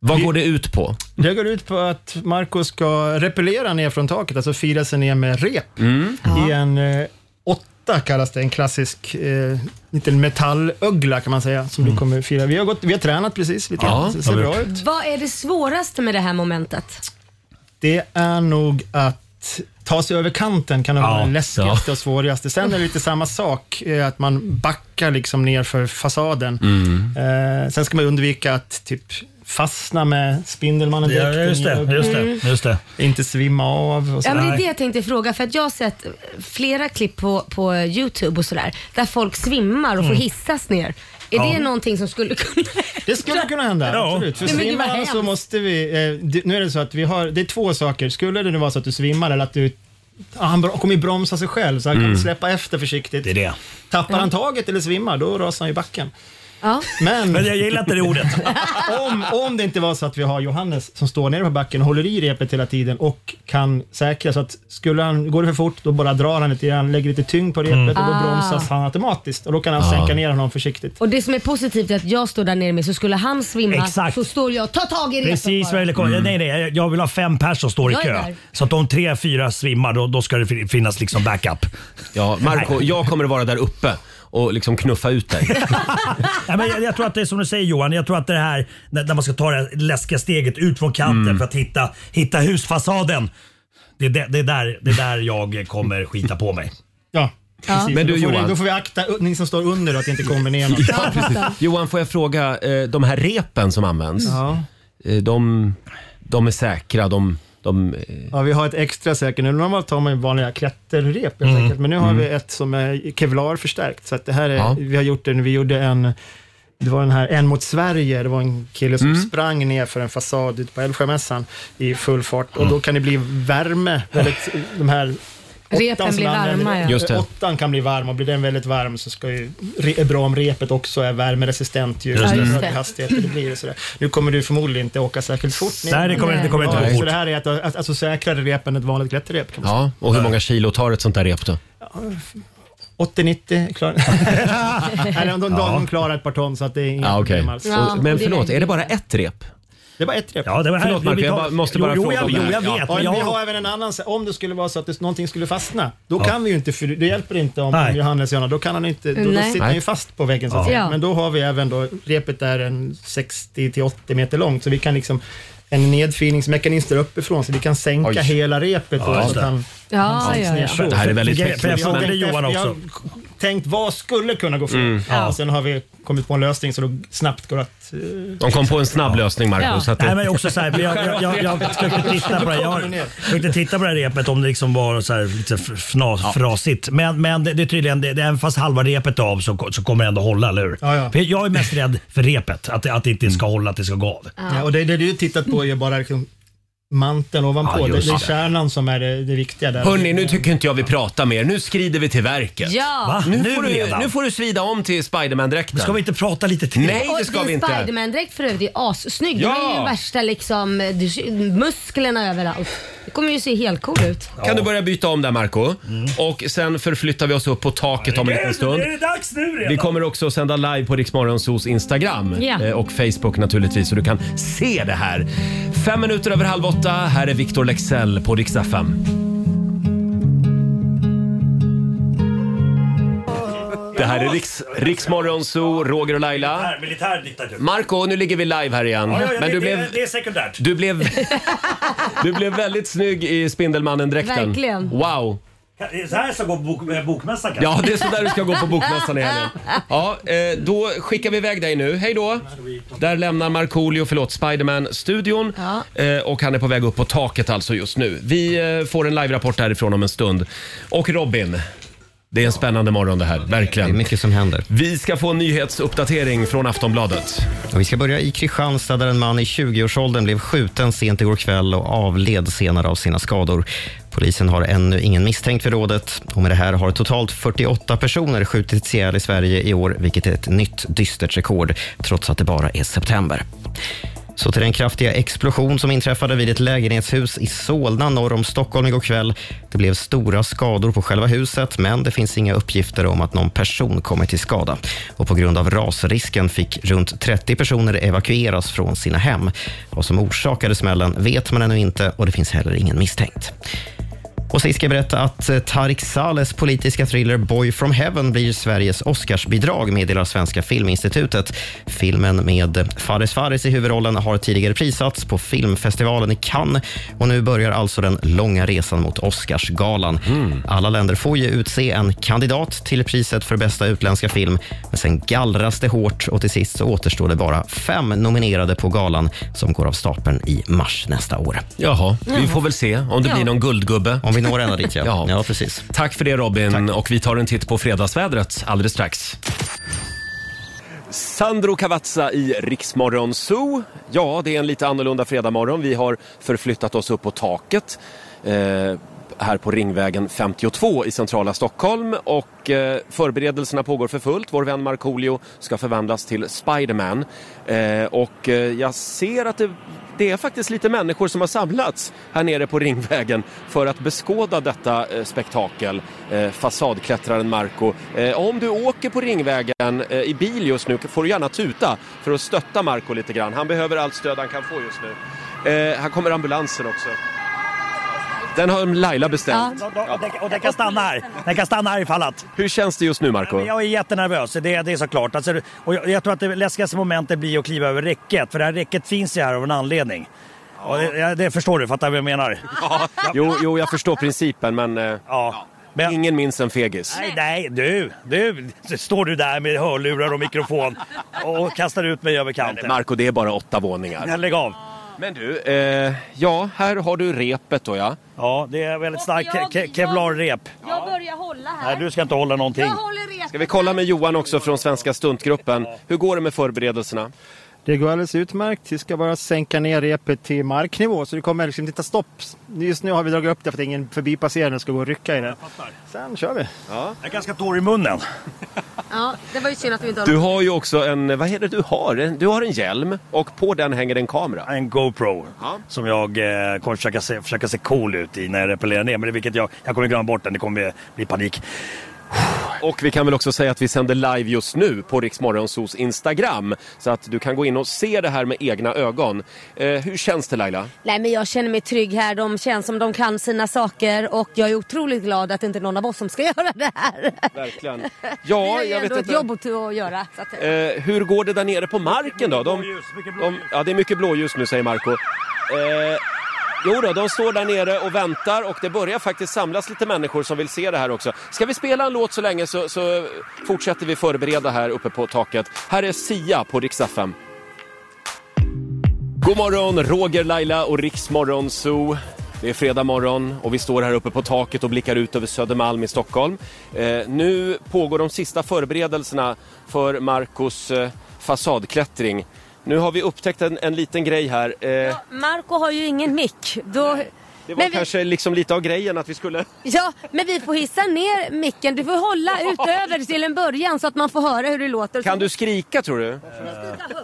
Speaker 1: Vad går det ut på?
Speaker 14: Det går ut på att Marco ska repellera ner från taket, alltså fira sig ner med rep
Speaker 1: Mm.
Speaker 14: i en eh, åtta kallas det, en klassisk eh, liten metallögla kan man säga som du kommer fira. Vi har, gått, vi har tränat precis lite grann, så det ser bra ut.
Speaker 2: Vad är det svåraste med det här momentet?
Speaker 14: Det är nog att ta sig över kanten kan vara
Speaker 13: Ja,
Speaker 14: det läskigaste
Speaker 13: ja.
Speaker 14: och svårigaste. Sen är det lite samma sak, eh, att man backar liksom ner för fasaden.
Speaker 10: Mm.
Speaker 14: Eh, sen ska man undvika att typ fastna med Spindelmannen
Speaker 10: Ja, just det, just det, just det.
Speaker 14: Inte svimma av och
Speaker 2: Ja, men det är det
Speaker 14: sådär.
Speaker 2: jag tänkte fråga, för att jag har sett eh, flera klipp på, på Youtube och sådär, där folk svimmar och får
Speaker 14: Mm.
Speaker 2: hissas ner. Är
Speaker 14: Ja.
Speaker 2: det någonting som skulle *laughs* kunna...
Speaker 14: Det skulle kunna hända,
Speaker 2: Ja.
Speaker 14: absolut. För
Speaker 2: Nej, men gud, vad
Speaker 14: svimmar
Speaker 2: hemskt.
Speaker 14: så måste vi... Eh, det, nu är det så att vi har... Det är två saker. Skulle det nu vara så att du svimmar eller att du... Ah, han bra- kommer ju bromsa sig själv, så han
Speaker 13: Mm.
Speaker 14: kan släppa efter försiktigt. Det är
Speaker 10: det.
Speaker 14: Tappar han taget eller svimmar, då rasar han i backen.
Speaker 2: Ja.
Speaker 14: Men,
Speaker 10: Men jag gillar inte det ordet.
Speaker 14: *laughs* om, om det inte var så att vi har Johannes som står nere på backen och håller i repet hela tiden och kan säkra så att skulle han, går det för fort då bara drar han lite grann, lägger lite tyngd på repet
Speaker 2: Mm.
Speaker 14: och då
Speaker 2: Ah.
Speaker 14: bromsas han automatiskt och då kan han
Speaker 2: Ah.
Speaker 14: sänka ner honom försiktigt.
Speaker 2: Och det som är positivt är att jag står där nere med, så skulle han svimma
Speaker 14: Exakt.
Speaker 2: så står jag och tar tag i
Speaker 10: Precis vad jag ville
Speaker 2: bara.
Speaker 1: Mm.
Speaker 14: Mm.
Speaker 10: komma. Nej, nej, jag- jag vill ha fem pers som står i
Speaker 2: Jag är
Speaker 10: kö.
Speaker 2: där.
Speaker 10: Så att om tre, fyra svimmar då, då ska det fin- finnas liksom backup.
Speaker 1: Ja, Marco, jag kommer att vara där uppe och liksom knuffa ut dig.
Speaker 10: *laughs* Nej, men jag, jag tror att det är som du säger Johan, jag tror att det här när, när man ska ta det här läskiga steget ut från kanten för att hitta, hitta husfasaden. Det är, det, det, är där, det är där jag kommer skita på mig.
Speaker 14: Ja, precis.
Speaker 1: Men
Speaker 14: Men
Speaker 1: du,
Speaker 14: då, får
Speaker 1: Johan.
Speaker 14: vi, då får vi akta ni som står under då, att det inte kommer ner någon.
Speaker 1: *laughs* Ja, precis. Johan, får jag fråga, eh, de här repen som används,
Speaker 14: Ja.
Speaker 1: eh, de, de är säkra? De, de, eh,
Speaker 14: Ja, vi har ett extra säkert nu. Normalt har man ju vanliga klätterrep helt
Speaker 1: Mm.
Speaker 14: enkelt, men nu har
Speaker 1: Mm.
Speaker 14: vi ett som är kevlar förstärkt. Så att det här är,
Speaker 1: Ja.
Speaker 14: vi har gjort det, när vi gjorde en, det var den här En mot Sverige, det var en kille som
Speaker 1: Mm.
Speaker 14: sprang ner för en fasad ute på Älvsjömässan i full fart och
Speaker 10: Mm.
Speaker 14: då kan det bli värme. Väldigt, de här åttan
Speaker 2: Repen
Speaker 14: som
Speaker 2: blir
Speaker 14: använder-
Speaker 2: varma, ja. Just det.
Speaker 14: Åttan kan bli varm och blir den väldigt varm så ska ju, re- är bra om repet också är värmeresistent ju
Speaker 10: Just det. Ja, just
Speaker 14: högre
Speaker 10: det.
Speaker 14: hastigheter det blir. Och sådär. Nu kommer du förmodligen inte åka särskilt fort. ner.
Speaker 10: Nej, det kommer- det kommer inte
Speaker 14: Ja,
Speaker 10: gå
Speaker 14: så
Speaker 10: fort.
Speaker 14: det här är att, att, alltså säkrare rep än ett vanligt klätterrep. Kan man
Speaker 1: ja, och hur många kilo tar ett sånt där rep då?
Speaker 14: säga. 80-90 klarar *laughs* Nej, de, de,
Speaker 1: Ja.
Speaker 14: de klarar ett par ton så att det är inga
Speaker 1: Ja, okej.
Speaker 14: problem alls.
Speaker 1: Alltså, Och- Men förlåt, är det bara ett rep?
Speaker 14: Det var ett rep.
Speaker 1: Ja, det var- Förlåt, Marco, jag bara- måste bara
Speaker 14: jo,
Speaker 1: fråga om
Speaker 14: Jo,
Speaker 1: det
Speaker 14: jag,
Speaker 1: här.
Speaker 14: jo, jag
Speaker 1: Ja.
Speaker 14: vet.
Speaker 1: Ja,
Speaker 14: men
Speaker 1: jag-
Speaker 14: vi har även en annan, så- om det skulle vara så att det, någonting skulle fastna, då
Speaker 1: Ja.
Speaker 14: kan vi ju inte, för det hjälper inte om
Speaker 1: Nej.
Speaker 14: Johannes gör något, då kan han inte, då, då
Speaker 1: Nej.
Speaker 14: sitter han
Speaker 1: Nej.
Speaker 14: ju fast på väggen så att
Speaker 1: Ja.
Speaker 14: säga.
Speaker 1: Ja.
Speaker 14: Men då har vi även då, repet är en 60 till 80 meter långt, så vi kan liksom en nedfilningsmekanism där uppifrån, så vi kan sänka
Speaker 1: Oj.
Speaker 14: hela repet.
Speaker 1: Ja,
Speaker 14: och
Speaker 1: just
Speaker 14: så
Speaker 1: det.
Speaker 14: att han,
Speaker 2: Ja,
Speaker 14: han sänks
Speaker 2: ja, ja.
Speaker 14: ner så.
Speaker 1: Det här är väldigt
Speaker 14: Jag-
Speaker 1: tekniskt.
Speaker 14: jag- jag-
Speaker 1: Jag frågade
Speaker 14: jag-
Speaker 1: Johan
Speaker 14: jag-
Speaker 1: också.
Speaker 14: tänkt vad skulle kunna gå fel?
Speaker 1: Mm. Ja.
Speaker 14: Och sen har vi kommit på en lösning så då snabbt går att... eh,
Speaker 1: De kom på en snabb lösning, Marco. Så att det...
Speaker 14: Nej,
Speaker 10: Men också så här, jag, jag, jag, jag försökte titta på det här. Jag försökte titta på det här repet om det liksom var så här, lite fnas,
Speaker 1: Ja.
Speaker 10: frasigt. Men, men det, det är tydligen, det, det, även fast halva repet är av så, ko- så kommer det ändå hålla, eller hur?
Speaker 14: Ja, ja.
Speaker 10: För Jag är mest rädd för repet, att, det- att det inte ska hålla, att det ska gå av.
Speaker 14: Ja, och det, det du tittat på är bara liksom manteln ovanpå.
Speaker 1: Ja,
Speaker 14: det,
Speaker 1: just
Speaker 14: det är
Speaker 1: det.
Speaker 14: kärnan som är det, det viktiga där.
Speaker 1: Hörni, nu tycker inte jag vi pratar mer. Nu skrider vi till verket.
Speaker 2: Ja. Va?
Speaker 1: Nu,
Speaker 2: Nu
Speaker 1: får du,
Speaker 2: redan?
Speaker 1: nu får du svida om till Spiderman-dräkten.
Speaker 10: Ska vi inte prata lite till?
Speaker 1: Nej, det ska
Speaker 2: och
Speaker 1: vi
Speaker 2: din
Speaker 1: inte.
Speaker 2: Spiderman-dräkt för övrigt är assnygg.
Speaker 1: Ja.
Speaker 2: Du har ju värsta liksom, du, musklerna överallt. Det kommer ju se helt cool ut.
Speaker 1: Kan du börja byta om där Marco?
Speaker 10: Mm.
Speaker 1: Och sen förflyttar vi oss upp på taket om en liten stund.
Speaker 10: dags nu
Speaker 1: Vi kommer också att sända live på Riksmorgonsos Instagram
Speaker 3: Ja.
Speaker 1: eh, och Facebook naturligtvis så du kan se det här. Fem minuter över halv åtta, här är Victor Lexell på Rix FM. Det här är Riks, Riksmorgon Zoo, Roger och Laila.
Speaker 10: Militär, militär diktatur.
Speaker 1: Marco, nu ligger vi live här igen.
Speaker 10: Ja, ja, ja,
Speaker 1: Men
Speaker 10: det,
Speaker 1: du
Speaker 10: det,
Speaker 1: blev,
Speaker 10: det är sekundärt.
Speaker 1: du blev, du blev väldigt snygg i Spindelmannen-dräkten.
Speaker 10: Verkligen.
Speaker 1: Wow!
Speaker 10: Så här ska gå på bok, eh, bokmässan kanske?
Speaker 1: Ja, det är sådär du ska gå på bokmässan
Speaker 10: *laughs*
Speaker 1: i helgen. Ja, eh, då skickar vi iväg dig nu. Hej då! Där lämnar Markoolio, förlåt, Spiderman-studion. Eh, Och han är på väg upp på taket alltså just nu. Vi eh, får en live-rapport därifrån om en stund. Och Robin, det är en spännande morgon det här, verkligen. Det är
Speaker 6: mycket som händer.
Speaker 1: Vi ska få en nyhetsuppdatering från Aftonbladet.
Speaker 6: Och vi ska börja i Kristianstad där en man i 20-årsåldern blev skjuten sent igår kväll och avled senare av sina skador. Polisen har ännu ingen misstänkt för rådet och med det här har totalt 48 personer skjutits ihjäl i Sverige i år, vilket är ett nytt dystert rekord trots att det bara är september. Så till den kraftiga explosion som inträffade vid ett lägenhetshus i Solna norr om Stockholm igår kväll. Det blev stora skador på själva huset, men det finns inga uppgifter om att någon person kommit till skada. Och på grund av rasrisken fick runt 30 personer evakueras från sina hem. Vad som orsakade smällen vet man ännu inte och det finns heller ingen misstänkt. Och sist ska jag berätta att eh, Tarik Sales politiska thriller Boy from Heaven blir Sveriges Oscarsbidrag, meddelar Svenska Filminstitutet. Filmen med Fares Fares i huvudrollen har tidigare prisats på filmfestivalen i Cannes och nu börjar alltså den långa resan mot Oscarsgalan. Alla länder får ju utse en kandidat till priset för bästa utländska film, men sen gallras det hårt och till sist så återstår det bara fem nominerade på galan som går av stapeln i mars nästa år.
Speaker 1: Jaha, vi får väl se om det
Speaker 6: Ja.
Speaker 1: blir någon guldgubbe.
Speaker 6: Om vi når ända dit, ja.
Speaker 1: *laughs* ja.
Speaker 6: precis.
Speaker 1: Tack för det Robin och vi tar en titt på fredagsvädret alldeles strax. Sandro Cavazza i Riksmorgon Zoo. Ja, det är en lite annorlunda fredagmorgon. Vi har förflyttat oss upp på taket eh, här på Ringvägen 52 i centrala Stockholm och eh, förberedelserna pågår för fullt. Vår vän Markoolio ska förvandlas till Spiderman eh, och eh, jag ser att det, det är faktiskt lite människor som har samlats här nere på Ringvägen för att beskåda detta eh, spektakel. Eh, fasadklättraren Marco. Eh, om du åker på Ringvägen eh, i bil just nu får du gärna tuta för att stötta Marco lite grann. Han behöver allt stöd han kan få just nu. Eh, här kommer ambulansen också. Den har Laila bestämt.
Speaker 10: Och, och, och, den- och den kan stanna här. Den kan stanna här ifall att.
Speaker 1: Hur känns det just nu Marco?
Speaker 10: Men Jag är jättenervös, det, det är såklart. Alltså, och jag, jag tror att det läskigaste momentet blir att kliva över räcket, för det här räcket finns ju här av en anledning. Och det, jag- det förstår du, fattar vad jag menar?
Speaker 1: Ja, jo, jo, jag förstår principen men, eh, ingen minns en fegis.
Speaker 10: Nej, nej, du, du, så står du där med hörlurar och mikrofon och kastar ut mig över kanten.
Speaker 1: Marco, det är bara åtta våningar.
Speaker 10: Nej, Lägg av.
Speaker 1: Men du, eh, ja, här har du repet då ja.
Speaker 10: Ja, det är väldigt starkt ke- ke- kevlarrep.
Speaker 2: Jag börjar hålla här.
Speaker 10: Nej, du ska inte hålla någonting.
Speaker 1: Ska vi kolla med Johan också från Svenska stuntgruppen. Hur går det med förberedelserna?
Speaker 14: Det går alldeles utmärkt. Vi ska bara sänka ner repet till marknivå så det kommer liksom inte ta stopp. Just nu har vi dragit upp det för att ingen förbipasserande ska gå och rycka i det. Sen kör vi.
Speaker 1: Ja.
Speaker 10: Jag är ganska torr i munnen.
Speaker 2: Ja, det var ju synd att vi inte har
Speaker 1: Du har ju också en, vad är det du har? En- Du har en hjälm och på den hänger en kamera.
Speaker 10: En GoPro som jag eh, kommer försöka se, försöka se cool ut i när jag repellerar ner. Men det, vilket jag, jag kommer glömma bort den, det kommer bli, bli panik.
Speaker 1: Och vi kan väl också säga att vi sänder live just nu på Riksmorgonsos Instagram. Så att du kan gå in och se det här med egna ögon. Eh, hur känns det Laila?
Speaker 2: Nej men jag känner mig trygg här. De känns som de kan sina saker och jag är otroligt glad att det inte är någon av oss som ska *laughs* göra det här.
Speaker 1: Verkligen.
Speaker 2: Vi
Speaker 1: Ja,
Speaker 2: har ju
Speaker 1: jag vet
Speaker 2: ändå ett
Speaker 1: inte.
Speaker 2: jobb att, att göra. Så att,
Speaker 1: Eh, hur går det där nere på marken då? De, de, ja, det är mycket blåljus nu säger Marco. Eh, jo då, de står där nere och väntar och det börjar faktiskt samlas lite människor som vill se det här också. Ska vi spela en låt så länge så, så fortsätter vi förbereda här uppe på taket. Här är Sia på Rix FM. God morgon, Roger, Laila och Riksmorgon Zoo. Det är fredag morgon och vi står här uppe på taket och blickar ut över Södermalm i Stockholm. Eh, nu pågår de sista förberedelserna för Marcos eh, fasadklättring. Nu har vi upptäckt en, en liten grej här. Eh,
Speaker 2: Marco har ju ingen mick. Då...
Speaker 1: Det var
Speaker 2: Men vi,
Speaker 1: kanske liksom lite av grejen att vi skulle...
Speaker 2: ja, men vi får hissa ner micken. Du får hålla utöver till en början så att man får höra hur det låter.
Speaker 1: Kan du skrika tror
Speaker 14: Eh,
Speaker 1: du?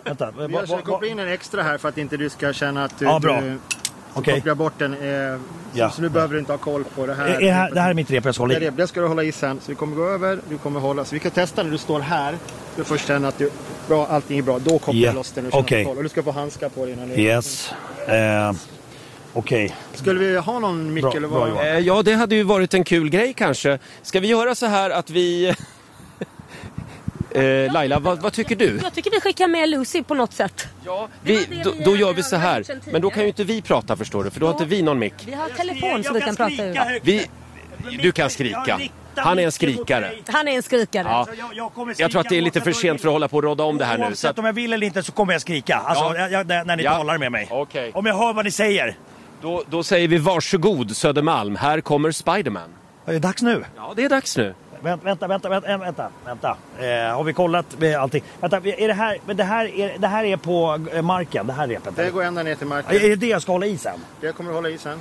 Speaker 10: Vänta,
Speaker 14: Vi har kopplat in en extra här för att inte du ska känna att du,
Speaker 10: Ja, bra.
Speaker 14: du
Speaker 10: Okej.
Speaker 14: kopplar bort den. Eh,
Speaker 10: Ja.
Speaker 14: Så nu behöver du inte ha koll på det här.
Speaker 10: Är- är här- det här är mitt rep jag ska hålla i?
Speaker 14: Det, är rep, det ska du hålla i sen. Så vi kommer gå över, du kommer hålla. Så vi kan testa när du står här. Du först känner att du, bra, allting är bra. Då kopplar
Speaker 10: Ja.
Speaker 14: du loss den och känner
Speaker 10: Okej.
Speaker 14: att du har koll. Och du ska få handskar på dig innan du...
Speaker 10: Yes. Eh, Okej.
Speaker 14: Skulle vi ha någon mick eller vad? Eh,
Speaker 1: Eh, ja, det hade ju varit en kul grej kanske. Ska vi göra så här att vi... *laughs* Eh, Laila, vad, vad tycker du?
Speaker 2: Jag tycker vi skickar med Lucy på något sätt.
Speaker 1: Ja, Vi, då, då gör vi så här. Men då kan ju inte vi prata förstår du, för då har inte vi någon mick.
Speaker 2: Vi har telefon som vi kan prata ur.
Speaker 1: Vi, du kan skrika. Han är en skrikare.
Speaker 2: Han är en skrikare.
Speaker 1: Ja. Alltså, Jag tror att det är lite för sent för att hålla på och rodda om det här nu. Så
Speaker 10: Oavsett
Speaker 1: att,
Speaker 10: om jag vill eller inte så kommer jag skrika. Alltså,
Speaker 1: Ja.
Speaker 10: jag, jag, när när ni
Speaker 1: Ja.
Speaker 10: talar med mig. Om jag hör vad ni säger.
Speaker 1: då, då säger vi varsågod Södermalm, här kommer Spiderman.
Speaker 10: Är det dags nu?
Speaker 1: Ja, det är dags nu.
Speaker 10: Vänta, vänta, vänta, vänta, eh, vänta. vänta. Eh, har vi kollat med allting? Vänta, är det här, men det här, är, det här är på eh, marken, det här repet?
Speaker 14: Det går ända ner till marken.
Speaker 10: Är det det jag ska hålla i sen?
Speaker 1: Ehm.
Speaker 14: Det kommer du hålla i sen.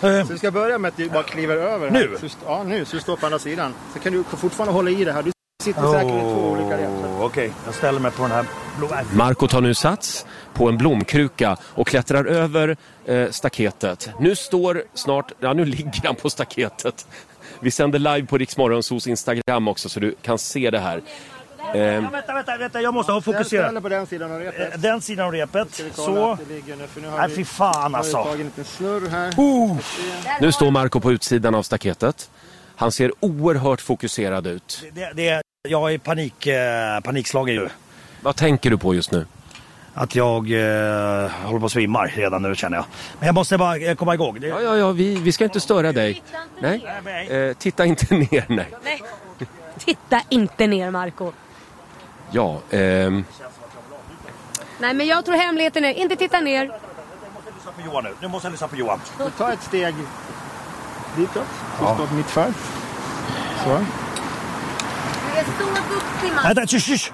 Speaker 14: Så vi ska börja med att du bara kliver över. Här.
Speaker 10: Eh. Nu?
Speaker 14: Så, ja, nu. Så du står på andra sidan. Så kan du fortfarande hålla i det här. Du sitter säkert i två olika rep.
Speaker 10: Okej, jag ställer mig på den här blå...
Speaker 1: Marco tar nu sats på en blomkruka och klättrar över eh, staketet. Nu står snart, ja nu *laughs* ligger han på staketet. Vi sänder live på Riksmorgonsos Instagram också så du kan se det här. Eh,
Speaker 10: Ja, vänta, vänta, vänta, jag måste ha
Speaker 14: Jag
Speaker 10: fokusera.
Speaker 14: ställer på den sidan av repet.
Speaker 10: Eh, Den sidan av repet,
Speaker 14: Kolla
Speaker 10: så.
Speaker 14: att det ligger nu, för nu har
Speaker 10: Nej
Speaker 14: vi-
Speaker 10: fy fan
Speaker 14: Har vi
Speaker 10: alltså.
Speaker 14: tagit en liten snurr här.
Speaker 1: nu står Marco på utsidan av staketet. Han ser oerhört fokuserad ut.
Speaker 10: Det, det, jag är panik, eh, panikslagen ju.
Speaker 1: Vad tänker du på just nu?
Speaker 10: Att jag eh, håller på att svimmar redan nu känner jag. Men jag måste bara eh, komma igåg. Det...
Speaker 1: Ja, ja, ja, vi, vi ska inte störa dig. Nej, eh, titta inte *laughs* ner. Nej.
Speaker 2: Nej. Titta inte ner Marco.
Speaker 1: Ja, ehm,
Speaker 2: Nej men jag tror hemligheten är, inte titta ner.
Speaker 10: på Johan nu. Nu måste jag lyssna på Johan.
Speaker 14: Du tar ett steg ditåt. Du står på mitt färg. Så.
Speaker 2: Du är så duktig
Speaker 10: Vänta, tsch, tsch.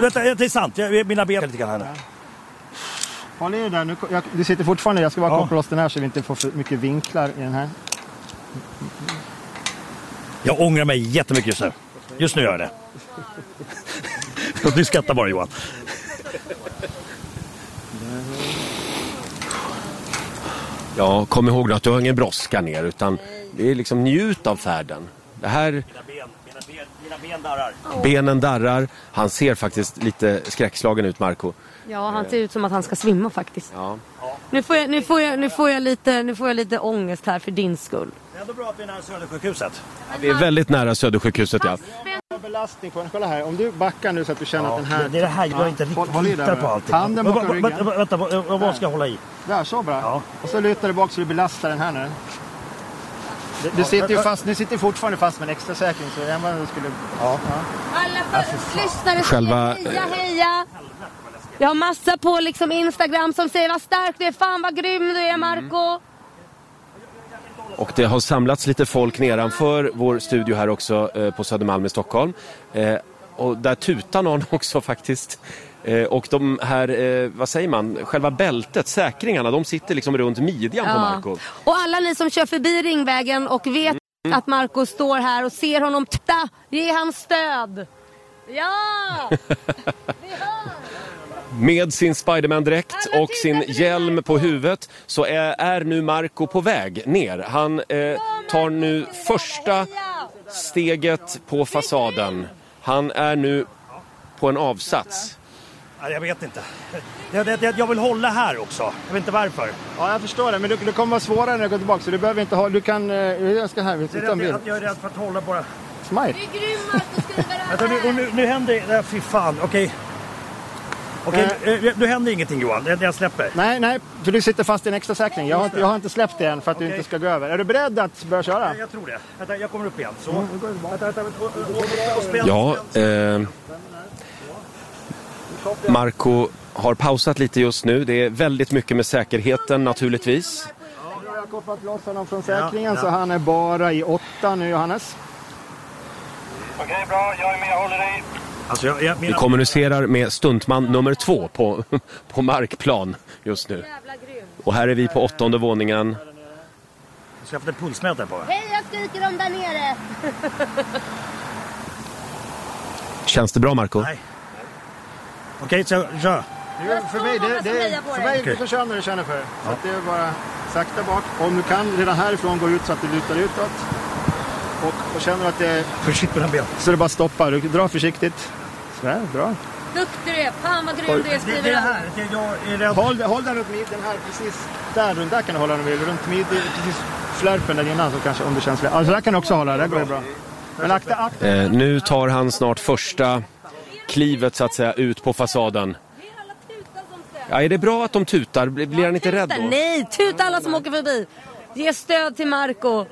Speaker 10: Vänta, det är sant. Jag, mina ben lite grann här nu.
Speaker 14: Håll i det där. Nu, jag, du sitter fortfarande Jag ska bara koppla loss den här så vi inte får för mycket vinklar i den här.
Speaker 10: Jag ångrar mig jättemycket just nu. Just nu gör jag det. *laughs* Du skrattar bara Johan.
Speaker 1: ja, kom ihåg nu att du har ingen brådska ner utan det är liksom njut av färden. Det här,
Speaker 10: Mina ben darrar.
Speaker 1: benen darrar, han ser faktiskt lite skräckslagen ut Marco.
Speaker 2: Ja han ser ut som att han ska svimma faktiskt.
Speaker 1: Ja.
Speaker 2: Nu får jag, nu får jag, nu får jag, lite, nu får jag lite ångest här för din skull.
Speaker 10: Det är ändå bra att vi är nära Södersjukhuset.
Speaker 1: Vi är väldigt nära Södersjukhuset ja.
Speaker 14: belastning på den. Kolla här. Om du backar nu så att du känner att den här...
Speaker 10: Det är det här
Speaker 14: Ja,
Speaker 10: jag inte
Speaker 14: håll- håll i
Speaker 10: riktigt litar
Speaker 14: där nu.
Speaker 10: på allting.
Speaker 14: Handen
Speaker 10: Men
Speaker 14: bakom
Speaker 10: vad-
Speaker 14: ryggen.
Speaker 10: Vänta, vänta, vad- vad vad ska jag hålla i?
Speaker 14: Där, så bra. Och så lutar du bak så du belastar den här nu. Du, du
Speaker 10: Ja,
Speaker 14: sitter ju
Speaker 10: ja.
Speaker 14: fast, nu sitter du fortfarande fast med en extra säkring så än vad du skulle... Ja.
Speaker 2: Alla för, lyssnare
Speaker 1: Själva- eh,
Speaker 2: heja heja. Jag har massa på liksom Instagram som säger vad stark du är, fan vad grym du är Marco.
Speaker 1: Mm. Och det har samlats lite folk nedanför vår studio här också eh, på Södermalm i Stockholm. Eh, och där tutar någon *laughs* också faktiskt. Eh, och de här, eh, vad säger man, själva bältet, säkringarna, de sitter liksom runt midjan på
Speaker 2: Ja.
Speaker 1: Marco.
Speaker 2: Och alla ni som kör förbi Ringvägen och vet
Speaker 1: Mm.
Speaker 2: att Marco står här och ser honom, titta, ge han stöd. Ja!
Speaker 1: Med sin Spiderman-dräkt och sin hjälm på huvudet så är, är nu Marco på väg ner. Han eh, tar nu första steget på fasaden. Han är nu på en avsats.
Speaker 10: Nej, Jag vet inte. Jag, jag, jag vill hålla här också. Jag vet inte varför.
Speaker 14: Ja, jag förstår det. Men du, det kommer vara svårare när du går tillbaka så du behöver inte ha... Du kan... eh, Jag ska här, vi
Speaker 10: Jag
Speaker 14: tittar
Speaker 10: är,
Speaker 14: en bild.
Speaker 10: rädd, jag är rädd för att hålla bara.
Speaker 14: Smile.
Speaker 10: Vänta, nu, och nu, nu händer det. Nej, Fy fan, okej. Okej, eh, nu händer ingenting Johan. Jag, jag släpper.
Speaker 14: Nej, nej, för du sitter fast i en extra säkring. Jag har, inte- jag har inte släppt det än för att du
Speaker 10: Okej.
Speaker 14: inte ska gå över. Är du beredd att börja köra?
Speaker 10: Jag, jag tror det. Vänta, jag kommer upp igen. Så.
Speaker 14: Mm,
Speaker 10: Vänta, vänta, vänta. Och, och, och, och spänn.
Speaker 1: Ja, eh, Marco har pausat lite just nu. Det är väldigt mycket med säkerheten naturligtvis.
Speaker 14: Nu har jag kopplat loss honom från säkringen så han är bara i åtta nu, Johannes.
Speaker 10: Okej, bra. Jag är med. Jag håller dig. Alltså, jag, jag,
Speaker 1: Vi
Speaker 10: mina...
Speaker 1: kommunicerar med stuntman nummer två på, *laughs* på markplan just nu. Och här är vi på åttonde våningen.
Speaker 10: Ska jag få ett pulsmätare på mig?
Speaker 2: Hej, jag skriker om där nere. *laughs*
Speaker 1: Känns det bra Marco?
Speaker 10: Okej, så kör.
Speaker 14: Du, för mig, det, det,
Speaker 3: hejar på
Speaker 14: för
Speaker 3: dig.
Speaker 14: mig
Speaker 10: Okej.
Speaker 14: du får köra när du känner för det. Så att det är bara sakta bak. Om du kan redan härifrån gå ut så att du lutar utåt. Och, och känner att det...
Speaker 10: Försiktigt med den benen.
Speaker 14: Så det bara stoppar. Du drar försiktigt. Sådär, bra.
Speaker 2: Duktig du är, fan vad
Speaker 14: Oj.
Speaker 2: grym du är
Speaker 14: Det-
Speaker 2: skriver
Speaker 14: det
Speaker 2: han.
Speaker 14: här.
Speaker 10: Jag är rädd.
Speaker 14: Håll, håll den runt midjan här precis. Där runt, där kan du hålla den vid. Runt midjan, precis flärpen där innan så kanske om du känns... Alltså där kan du också hålla, där går det bra. Men akta, akta.
Speaker 1: Eh, nu tar han snart första klivet så att säga ut på fasaden? Ja, är det bra att de tutar? Blir blir han inte rädd
Speaker 2: Tuta,
Speaker 1: då?
Speaker 2: nej, tuta alla som åker förbi. Ge stöd till Marco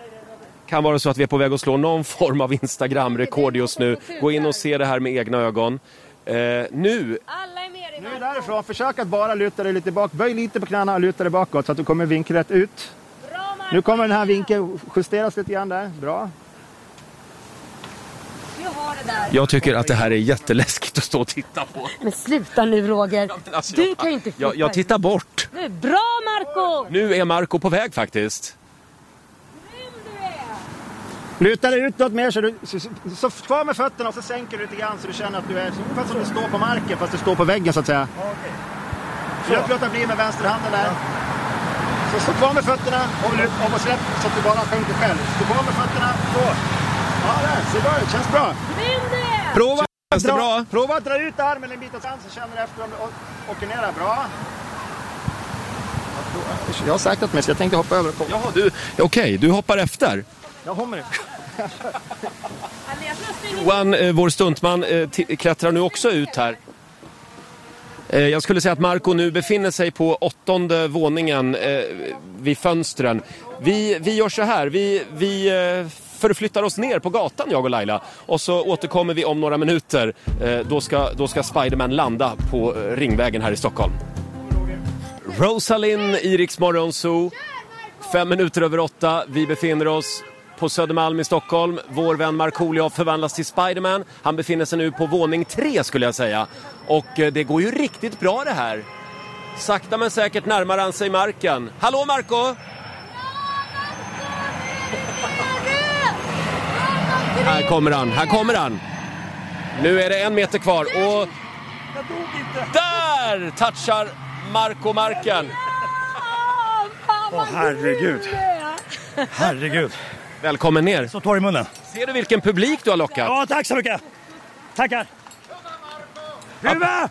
Speaker 1: Kan vara så att vi är på väg att slå någon form av Instagram-rekord just nu. Gå in och se det här med egna ögon. Eh, nu
Speaker 14: Nu därifrån, försök att bara luta dig lite bak. Böj lite på knäna och luta dig bakåt så att du kommer vinkelrätt ut. nu kommer den här vinkeln justeras lite grann där. Bra.
Speaker 1: Jag tycker att det här är jätteläskigt att stå och titta på. Alltså,
Speaker 2: Men sluta nu Roger. Du kan ju inte flytta
Speaker 1: Jag, jag tittar bort.
Speaker 2: dig. Nu, Bra Marco
Speaker 1: Nu är Marco på väg faktiskt.
Speaker 14: Luta dig utåt mer så du... Så, så, så kvar med fötterna och så sänker du lite grann så du känner att du är så- ungefär som du står på marken fast du står på väggen så att säga. Försök låta bli med vänsterhanden där. Så stå kvar med fötterna och, lut- och släpp så att du bara sjunker själv. Stå kvar med fötterna. Så. Ja, där. Ser bra ut. Känns bra.
Speaker 1: Prova. Känns det
Speaker 14: Dra-
Speaker 1: bra?
Speaker 14: Prova att dra ut armen en bit åt sidan så känner du efter om du å- åker ner där. Bra. Jag har sagt mig så jag tänkte hoppa över och komma.
Speaker 1: Jaha, du, okej, du hoppar efter.
Speaker 14: Jag *laughs* kommer.
Speaker 1: Johan, eh, vår stuntman, eh, ti- klättrar nu också ut här. Eh, jag skulle säga att Marco nu befinner sig på åttonde våningen eh, vid fönstren. Vi, vi gör så här, vi, vi eh, förflyttar oss ner på gatan jag och Laila och så återkommer vi om några minuter. Eh, då, ska, då ska Spiderman landa på eh, Ringvägen här i Stockholm. Rosalind i Rix Morgon Zoo. Fem minuter över åtta. Vi befinner oss på Södermalm i Stockholm. Vår vän Markoolio har förvandlats till Spiderman. Han befinner sig nu på våning tre skulle jag säga. Och eh, det går ju riktigt bra det här. Sakta men säkert närmar han sig marken. Hallå Marco! Här kommer han, här kommer han! Nu är det en meter kvar och där touchar Marco marken.
Speaker 3: Åh herregud.
Speaker 1: Herregud. Välkommen ner. Så torr i munnen. Ser du vilken publik du har lockat? Ja, tack så mycket. Tackar. Hurra!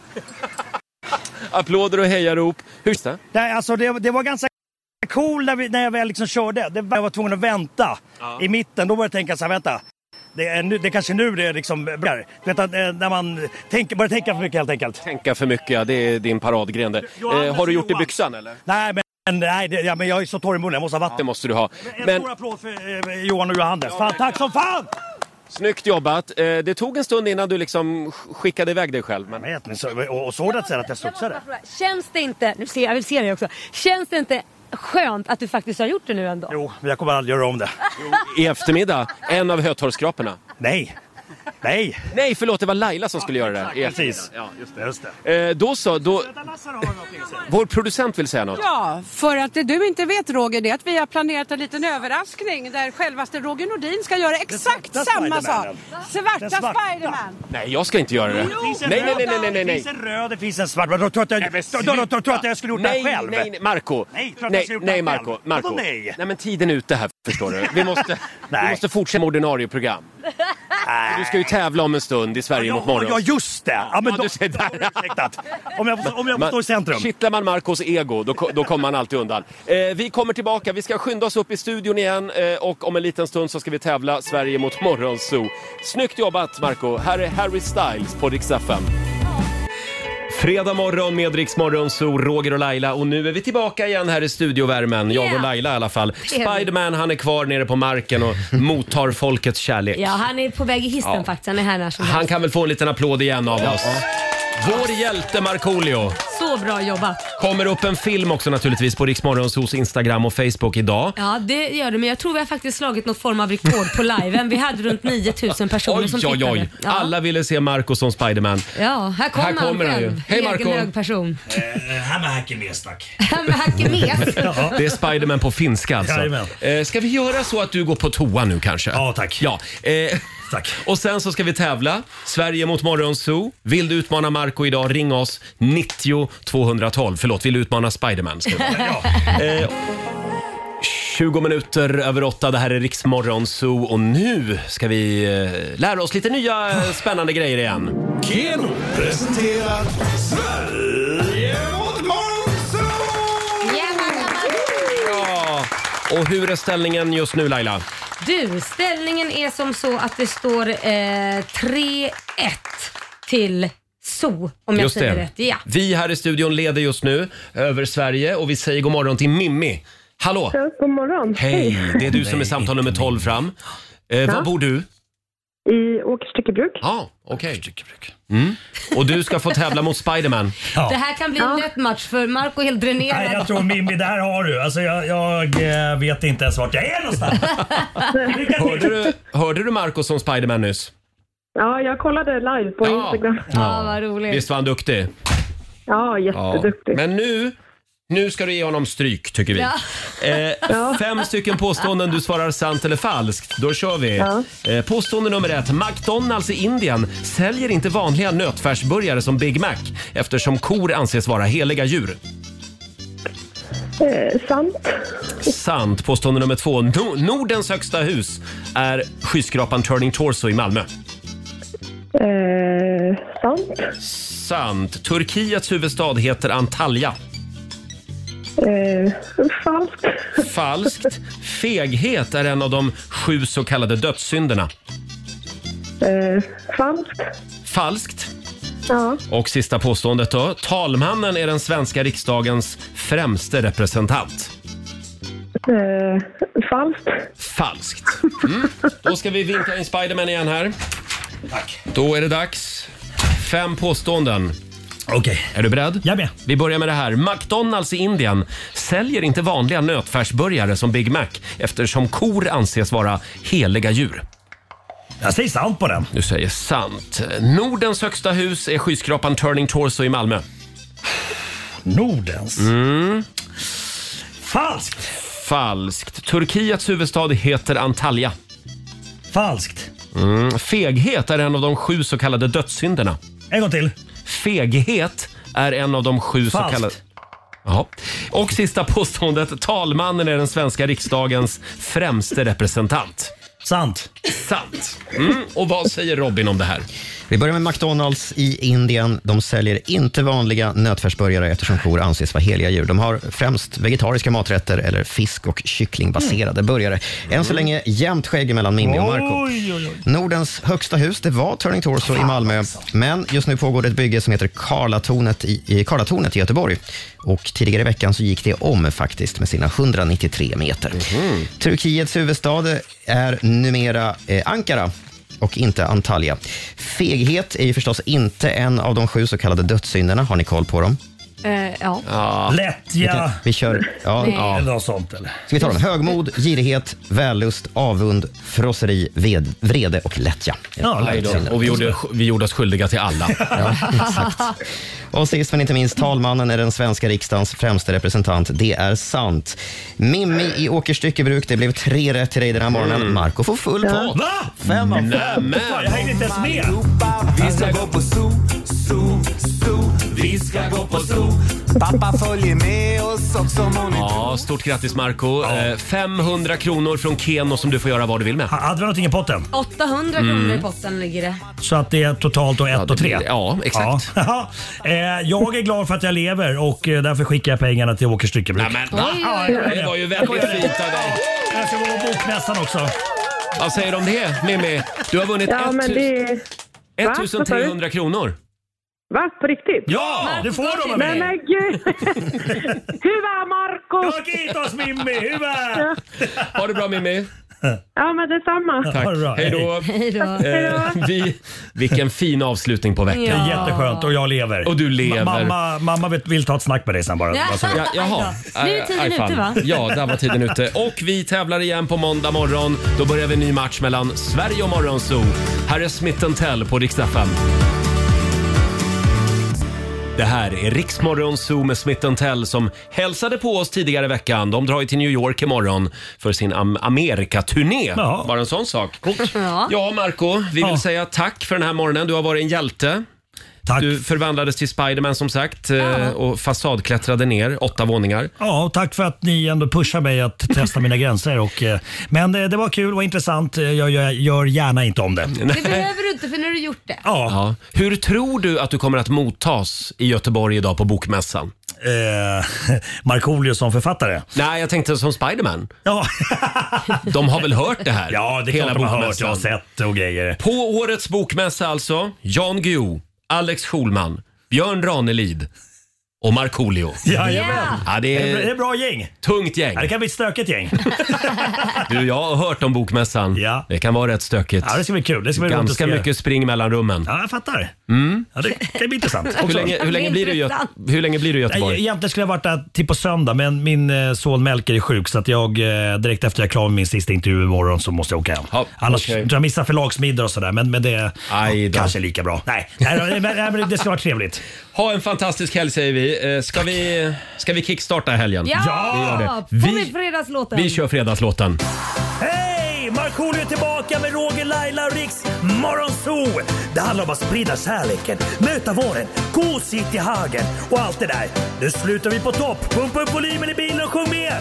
Speaker 1: Applåder och hejarop. Hur känns det?
Speaker 10: Nej, alltså det, det var ganska cool när, vi, när jag väl liksom körde. Det, var- jag var tvungen att vänta
Speaker 1: Ja.
Speaker 10: i mitten. Då började jag tänka så här, vänta. Det är, nu, det är kanske nu det är liksom börjar. Du Vet att, eh, när man tänker, börjar tänka för mycket helt enkelt.
Speaker 1: Tänka för mycket, ja, det är din paradgren det.
Speaker 10: Johannes
Speaker 1: Eh, har du gjort det i
Speaker 10: Johan.
Speaker 1: byxan eller?
Speaker 10: Nej, men, nej det, ja, men jag är så torr i munnen. Jag måste ha vatten.
Speaker 1: Det måste du ha.
Speaker 10: En
Speaker 1: Men
Speaker 10: stor applåd för eh, Johan och Johannes. Fan, tack som fan!
Speaker 1: snyggt jobbat. Eh, det tog en stund innan du liksom sk- skickade iväg dig själv. Men...
Speaker 10: Jag vet, men, och, och såg du att sen att jag studsade?
Speaker 2: Känns det inte, nu ser jag, jag vill se dig också. Känns det inte skönt att du faktiskt har gjort det nu ändå?
Speaker 10: Jo. Men jag kommer aldrig göra om det.
Speaker 1: I eftermiddag, en av Hötorgsskraporna.
Speaker 10: Nej. Nej.
Speaker 1: Nej, förlåt, det var Laila som skulle göra det. i eftermiddag.
Speaker 10: Precis. Ja, just det. Just det.
Speaker 1: Eh, då så, då... Vår producent vill säga något.
Speaker 5: Ja, för att det du inte vet Roger, det är att vi har planerat en liten överraskning där självaste Roger Nordin ska göra exakt
Speaker 10: svarta
Speaker 5: samma sak.
Speaker 10: Spidermanen.
Speaker 5: Svarta,
Speaker 10: Den svarta.
Speaker 5: Spiderman.
Speaker 1: Nej, jag ska inte göra det.
Speaker 5: Jo.
Speaker 1: Nej, nej, nej, nej, nej,
Speaker 10: Det
Speaker 1: nej.
Speaker 10: finns en röd, det finns en svart. Då tror jag att jag, då, då, då, tror jag att jag skulle gjort
Speaker 1: nej,
Speaker 10: det här själv.
Speaker 1: Nej, nej, Marco.
Speaker 10: Nej, tror att jag
Speaker 1: nej,
Speaker 10: ska gjort det
Speaker 1: nej
Speaker 10: här
Speaker 1: Marco.
Speaker 10: själv.
Speaker 1: Marco.
Speaker 10: Vadå nej?
Speaker 1: nej, men tiden är ute här förstår du. Vi måste, vi måste fortsätta med ordinarie program. Du ska ju tävla om en stund i Sverige mot morgon.
Speaker 10: Ja, just det! Ja, men då,
Speaker 1: du ser där.
Speaker 10: Om jag, får- om jag får stå i centrum.
Speaker 1: Kittlar man Marcos ego, då, ko- då kommer man alltid undan. Eh, vi kommer tillbaka, vi ska skynda oss upp i studion igen eh, och om en liten stund så ska vi tävla Sverige mot Morgonzoo. Snyggt jobbat Marco. Här är Harry Styles på Rix FM. Fredag morgon med Rix Morgonzoo, Roger och Laila och nu är vi tillbaka igen här i studiovärmen. Jag och
Speaker 2: Yeah.
Speaker 1: Laila i alla fall.
Speaker 2: Det är vi.
Speaker 1: Spiderman han är kvar nere på marken och mottar folkets kärlek.
Speaker 2: Ja, han är på väg i hissen
Speaker 1: Ja.
Speaker 2: faktiskt. Han är här när som helst.
Speaker 1: Han kan väl få en liten applåd igen av oss. Vår hjälte Markoolio.
Speaker 2: Så bra jobbat.
Speaker 1: Kommer upp en film också naturligtvis på Riksmorgonsos Instagram och Facebook idag.
Speaker 2: Ja, det gör du. Men jag tror vi har faktiskt slagit något form av rekord på liven. Vi hade runt 9000 personer
Speaker 1: Oj,
Speaker 2: som
Speaker 1: oj,
Speaker 2: tittade.
Speaker 1: oj.
Speaker 2: Ja.
Speaker 1: Alla ville se Marco som Spiderman.
Speaker 2: Ja, här kommer
Speaker 1: Här kommer
Speaker 2: han
Speaker 1: han ju.
Speaker 2: själv.
Speaker 1: Hej,
Speaker 2: Egen
Speaker 1: Marco.
Speaker 2: *laughs* hög person.
Speaker 10: Eh, Här med hacken med stack.
Speaker 2: Med hackemes.
Speaker 1: *laughs* Det är Spiderman på finska alltså.
Speaker 10: Jajamän.
Speaker 1: Eh, Ska vi göra så att du går på toa nu kanske? Ja, tack. Ja. eh, *laughs* Och sen så ska vi tävla. Sverige mot Morgonzoo. Vill du utmana Marco idag, ring oss. 90 212. Förlåt, vill du utmana Spiderman? ska det vara. Eh, 20 minuter över åtta, det här är Riksmorgon Zoo och nu ska vi eh, lära oss lite nya eh, spännande grejer igen.
Speaker 3: Keno presenterar Sverige mot
Speaker 1: Ja, och hur är ställningen just nu Laila?
Speaker 2: Du, ställningen är som så att det står eh, 3-1 till zoo om jag
Speaker 1: Just
Speaker 2: säger
Speaker 1: det.
Speaker 2: rätt. Ja.
Speaker 1: Vi här i studion leder just nu över Sverige och vi säger god morgon till Mimmi. Hallå!
Speaker 4: Ja, god morgon.
Speaker 1: Hej! Det är du som är samtal nummer 12 fram. Eh,
Speaker 4: Ja.
Speaker 1: Var bor du?
Speaker 4: I Åkerstyckebruk.
Speaker 1: Ja, okej. Mm. Och du ska få tävla mot Spiderman.
Speaker 2: Det här kan bli en lätt match för Marco är helt dränerad.
Speaker 10: Nej, jag tror Mimmi, där har du. Alltså, jag, jag eh, vet inte ens vart jag är någonstans.
Speaker 1: Hörde du, hörde du Marco som Spiderman nyss?
Speaker 4: Ja, jag kollade live på Instagram.
Speaker 1: Ja,
Speaker 2: vad roligt.
Speaker 1: Visst var han duktig?
Speaker 4: Ja,
Speaker 1: Ja.
Speaker 4: jätteduktig.
Speaker 1: Men nu, nu ska du ge honom stryk tycker vi.
Speaker 4: Ja.
Speaker 1: Eh,
Speaker 4: Ja.
Speaker 1: Fem stycken påståenden du svarar sant eller falskt. Då kör vi.
Speaker 4: Ja.
Speaker 1: Eh, påstående nummer ett. McDonalds i Indien säljer inte vanliga nötfärsburgare som Big Mac eftersom kor anses vara heliga djur.
Speaker 4: Eh, sant.
Speaker 1: Sant. Påstående nummer två. No Nordens högsta hus är skyskrapan Turning Torso i Malmö.
Speaker 4: Eh, sant.
Speaker 1: Sant. Turkiets huvudstad heter Antalya.
Speaker 4: Eh, falskt.
Speaker 1: Falskt. Feghet är en av de sju så kallade dödssynderna.
Speaker 4: Eh, falskt.
Speaker 1: Falskt.
Speaker 4: Ja.
Speaker 1: Och sista påståendet då. Talmannen är den svenska riksdagens främste representant.
Speaker 4: Eh, falskt.
Speaker 1: Falskt. Mm. Då ska vi vinka in Spiderman igen här. Tack. Då är det dags. Fem påståenden.
Speaker 10: Okej.
Speaker 1: Är du beredd? Jag är med. Vi börjar med det här. McDonalds i Indien säljer inte vanliga nötfärsburgare som Big Mac eftersom kor anses vara heliga djur.
Speaker 10: Jag säger sant på den.
Speaker 1: Du säger sant. Nordens högsta hus är skyskrapan Turning Torso i Malmö.
Speaker 10: Nordens?
Speaker 1: Mm.
Speaker 10: Falskt!
Speaker 1: Falskt. Turkiets huvudstad heter Antalya.
Speaker 10: Falskt.
Speaker 1: Mm. Feghet är en av de sju så kallade dödssynderna.
Speaker 10: En gång till.
Speaker 1: Feghet är en av de sju
Speaker 10: Falskt.
Speaker 1: så kallade... Jaha. Och sista påståendet. Talmannen är den svenska riksdagens främste representant.
Speaker 10: Sant.
Speaker 1: Sant. Mm. Och vad säger Robin om det här?
Speaker 6: Vi börjar med McDonalds i Indien. De säljer inte vanliga nötfärsburgare eftersom kor anses vara heliga djur. De har främst vegetariska maträtter eller fisk och kycklingbaserade burgare. Än så länge jämnt skägg mellan Mimmi och Marco.
Speaker 3: Oj, oj, oj.
Speaker 6: Nordens högsta hus, det var Turning Torso i Malmö, men just nu pågår det ett bygge som heter Karlatornet i, i Karlatornet i Göteborg. Och tidigare i veckan så gick det om faktiskt med sina 193 meter. Turkiets huvudstad är numera eh, Ankara och inte Antalya. Feghet är ju förstås inte en av de sju så kallade dödssynderna. Har ni koll på dem?
Speaker 2: Eh, ja.
Speaker 6: Vi, kan, vi kör. Ja,
Speaker 2: Nej.
Speaker 6: ja.
Speaker 10: Eller något sånt eller?
Speaker 6: Ska vi ta dem? Högmod, girighet, vällust, avund, frosseri, ved, vrede och lättja.
Speaker 1: Aj då. Och vi gjorde, vi gjorde oss skyldiga till alla.
Speaker 6: *laughs* Och sist men inte minst, talmannen är den svenska riksdagens främste representant. Det är sant. Mimmi i Åkerstyckebruk, det blev tre rätt till dig den här morgonen. Marco får full pott.
Speaker 10: Va?
Speaker 6: Fem av fem.
Speaker 3: Nämen.
Speaker 10: Fan, jag hängde inte ens med.
Speaker 3: Vi ska gå på zoo, zoo, zoo. Vi ska gå på zoo. Pappa följer med oss också om hon är
Speaker 1: Ja, stort grattis Marco. Eh, 500 kronor från Keno som du får göra vad du vill med.
Speaker 10: Hade vi någonting i potten?
Speaker 2: 800
Speaker 1: Mm.
Speaker 2: kronor i potten ligger det.
Speaker 10: Så att det är totalt då 1 och 3?
Speaker 1: Ja, exakt.
Speaker 10: Ja. *laughs* Eh, jag är glad för att jag lever och eh, därför skickar jag pengarna till Åkers Styckebruk.
Speaker 1: Nämen, va? Oj, oj, oj. Det var ju väldigt fint av dig.
Speaker 10: Jag ska gå på bokmässan också.
Speaker 1: Vad säger du om det, Mimmi? Du har vunnit
Speaker 4: Ja, men det... Va? Vad sa du?
Speaker 1: 1300 kronor.
Speaker 4: Va? På riktigt?
Speaker 1: Ja,
Speaker 10: du får dem av
Speaker 4: Nej
Speaker 10: mig.
Speaker 4: men gud! *laughs* Hyvä Marko!
Speaker 10: Kiitos Mimmi, hyvä!
Speaker 4: Ja.
Speaker 3: *laughs*
Speaker 1: Ha det bra Mimmi.
Speaker 4: Ja men detsamma.
Speaker 1: Tack. Hej då.
Speaker 4: Tack, hej då.
Speaker 1: Eh, vi, vilken fin avslutning på veckan.
Speaker 10: Det är jätteskönt och jag lever.
Speaker 1: Och du lever.
Speaker 10: Ma- mamma mamma vet- vill ta ett snack med dig sen bara. Alltså.
Speaker 1: Ja.
Speaker 10: Bara så.
Speaker 1: Ja, jaha.
Speaker 2: Nu är tiden
Speaker 1: Aj, fan.
Speaker 2: ute, va?
Speaker 1: Ja, där var tiden ute. Och vi tävlar igen på måndag morgon. Då börjar vi en ny match mellan Sverige och Morgonzoo. Här är Smith Tell på riksdag Det här är Riksmorgon Zoo med Smith Tell som hälsade på oss tidigare i veckan. De drar ju till New York imorgon för sin am- Amerikaturné.
Speaker 3: Ja.
Speaker 1: Bara en sån sak.
Speaker 2: Ja.
Speaker 1: *laughs* Ja, Marco, vi vill säga tack för den här morgonen. Du har varit en hjälte. Du förvandlades till Spiderman som sagt eh, och fasadklättrade ner åtta våningar.
Speaker 10: Ja, och tack för att ni ändå pushar mig att testa mina gränser. Och, eh, men det, det var kul, det var intressant. Eh, Jag, jag gör gärna inte om det. *laughs*
Speaker 2: Det behöver du inte för när du gjort det.
Speaker 10: Ja.
Speaker 1: Hur tror du att du kommer att mottas i Göteborg idag på bokmässan?
Speaker 10: Eh, Markoolio som författare?
Speaker 1: Nej, jag tänkte som Spiderman.
Speaker 10: Ja.
Speaker 1: *laughs* de har väl hört det här?
Speaker 10: Ja, det är klart de har hört. Jag har sett och grejer.
Speaker 1: På årets bokmässa alltså, Jan Guillou, Alex Schulman, Björn Ranelid och Markoolio.
Speaker 9: *laughs* Jajamän.
Speaker 1: Ja, det
Speaker 9: Det är- det är
Speaker 1: är
Speaker 9: bra gäng.
Speaker 1: tungt gäng.
Speaker 9: Ja, det kan bli ett stökigt gäng.
Speaker 1: *laughs* Du, jag har hört om bokmässan. Det kan vara rätt stökigt.
Speaker 9: Ja, det ska bli kul. Det ska bli roligt att
Speaker 1: Ganska
Speaker 9: se.
Speaker 1: mycket spring mellan rummen.
Speaker 9: Ja, jag fattar.
Speaker 1: Mm.
Speaker 9: Ja, det kan bli intressant.
Speaker 1: Hur länge, hur, länge blir du, i Gö- hur länge blir du i
Speaker 9: Nej,
Speaker 1: Göteborg?
Speaker 9: Egentligen skulle jag varit där till på söndag, men min eh, son Melker är sjuk så att jag eh, direkt efter jag är klar med min sista intervju imorgon så måste jag åka hem. Annars
Speaker 1: okej.
Speaker 9: tror jag missar förlagsmiddag och sådär, men, men det är ja, kanske lika bra. Nej, nej, nej, men, nej men det ska vara trevligt.
Speaker 1: Ha en fantastisk helg säger vi. Eh, Ska vi, ska vi kickstarta helgen?
Speaker 15: Ja!
Speaker 1: Vi gör det.
Speaker 15: Får vi
Speaker 1: Vi,
Speaker 15: fredagslåten?
Speaker 1: vi kör fredagslåten.
Speaker 9: Hej! Markoolio är tillbaka med Roger, Laila och Riks Morgonzoo! Det handlar om att sprida kärleken, möta våren, gosigt i hagen och allt det där. Nu slutar vi på topp! Pumpa upp volymen i bilen och sjung med!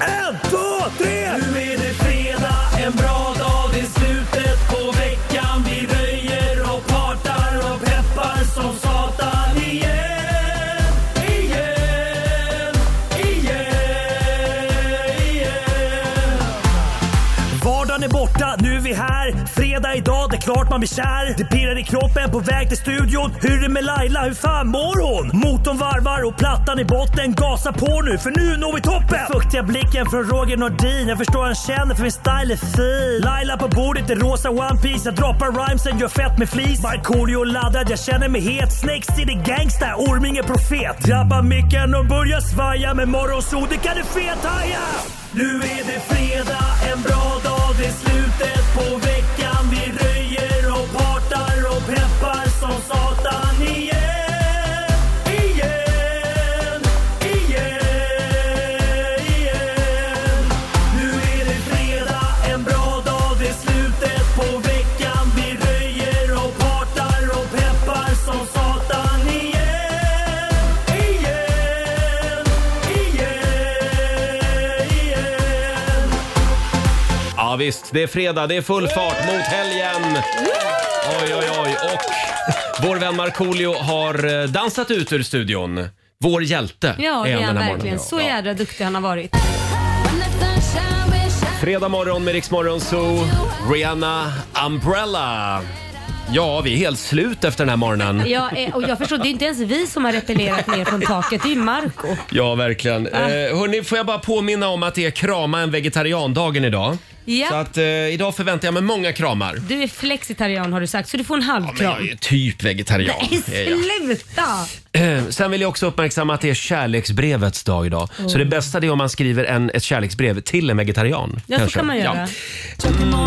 Speaker 9: En, två, tre! Nu är det fredag, en bra dag, det är slutet på veckan. Vi röjer och partar och peppar som satan igen, igen, igen, igen. Vardagen är borta, nu är vi här. Fredag idag, det är klart man blir kär. Det pirrar i kroppen på väg till studion. Hur är det med Laila, hur fan mår hon? Motorn varvar och plattan i botten. Gasa på nu, för nu når vi toppen! Den fuktiga blicken från Roger Nordin. Jag förstår han känner, för min style är fin. Laila på bordet i rosa One Piece Jag droppar rhymesen, gör fett med flis. Markoolio laddad, jag känner mig het. Snake City gangsta, Orminge profet. Drabbar micken och börjar svaja. Med morgonsol, det kan du fethaja! Nu är det fredag, en bra dag, det är slutet på veckan. Vi röjer och partar och peppar som satan igen. Igen, igen, igen. Nu är det fredag, en bra dag, det är slutet på veckan. Vi röjer och partar och peppar som satan igen. Igen, igen, igen.
Speaker 1: Ja visst, det är fredag, det är full fart mot helgen. Oj, oj, oj. Och vår vän Markoolio har eh, dansat ut ur studion. Vår hjälte
Speaker 2: Ja, det är
Speaker 1: den
Speaker 2: han
Speaker 1: här
Speaker 2: verkligen. Så
Speaker 1: morgonen.
Speaker 2: jädra duktig han har varit.
Speaker 1: Fredag morgon med Rix Morgon Zoo. Rihanna Umbrella. Ja, vi är helt slut efter den här morgonen.
Speaker 2: Jag, är, eh, och jag förstår, det är inte ens vi som har repellerat ner från taket, det är ju Marco.
Speaker 1: Ja, verkligen.
Speaker 2: Ah.
Speaker 1: Eh, hörni, får jag bara påminna om att det är krama en vegetariandagen idag.
Speaker 2: Ja.
Speaker 1: Så att eh, idag förväntar jag mig många kramar.
Speaker 2: Du är flexitarian har du sagt, så du får en halv
Speaker 1: Men
Speaker 2: kram.
Speaker 1: jag är typ vegetarian.
Speaker 2: Nej,
Speaker 1: är jag.
Speaker 2: sluta!
Speaker 1: Eh, Sen vill jag också uppmärksamma att det är kärleksbrevets dag idag.
Speaker 2: Oh.
Speaker 1: Så det bästa det är om man skriver en, ett kärleksbrev till en vegetarian.
Speaker 2: Ja, så
Speaker 1: kanske.
Speaker 2: kan man göra.
Speaker 1: Ja.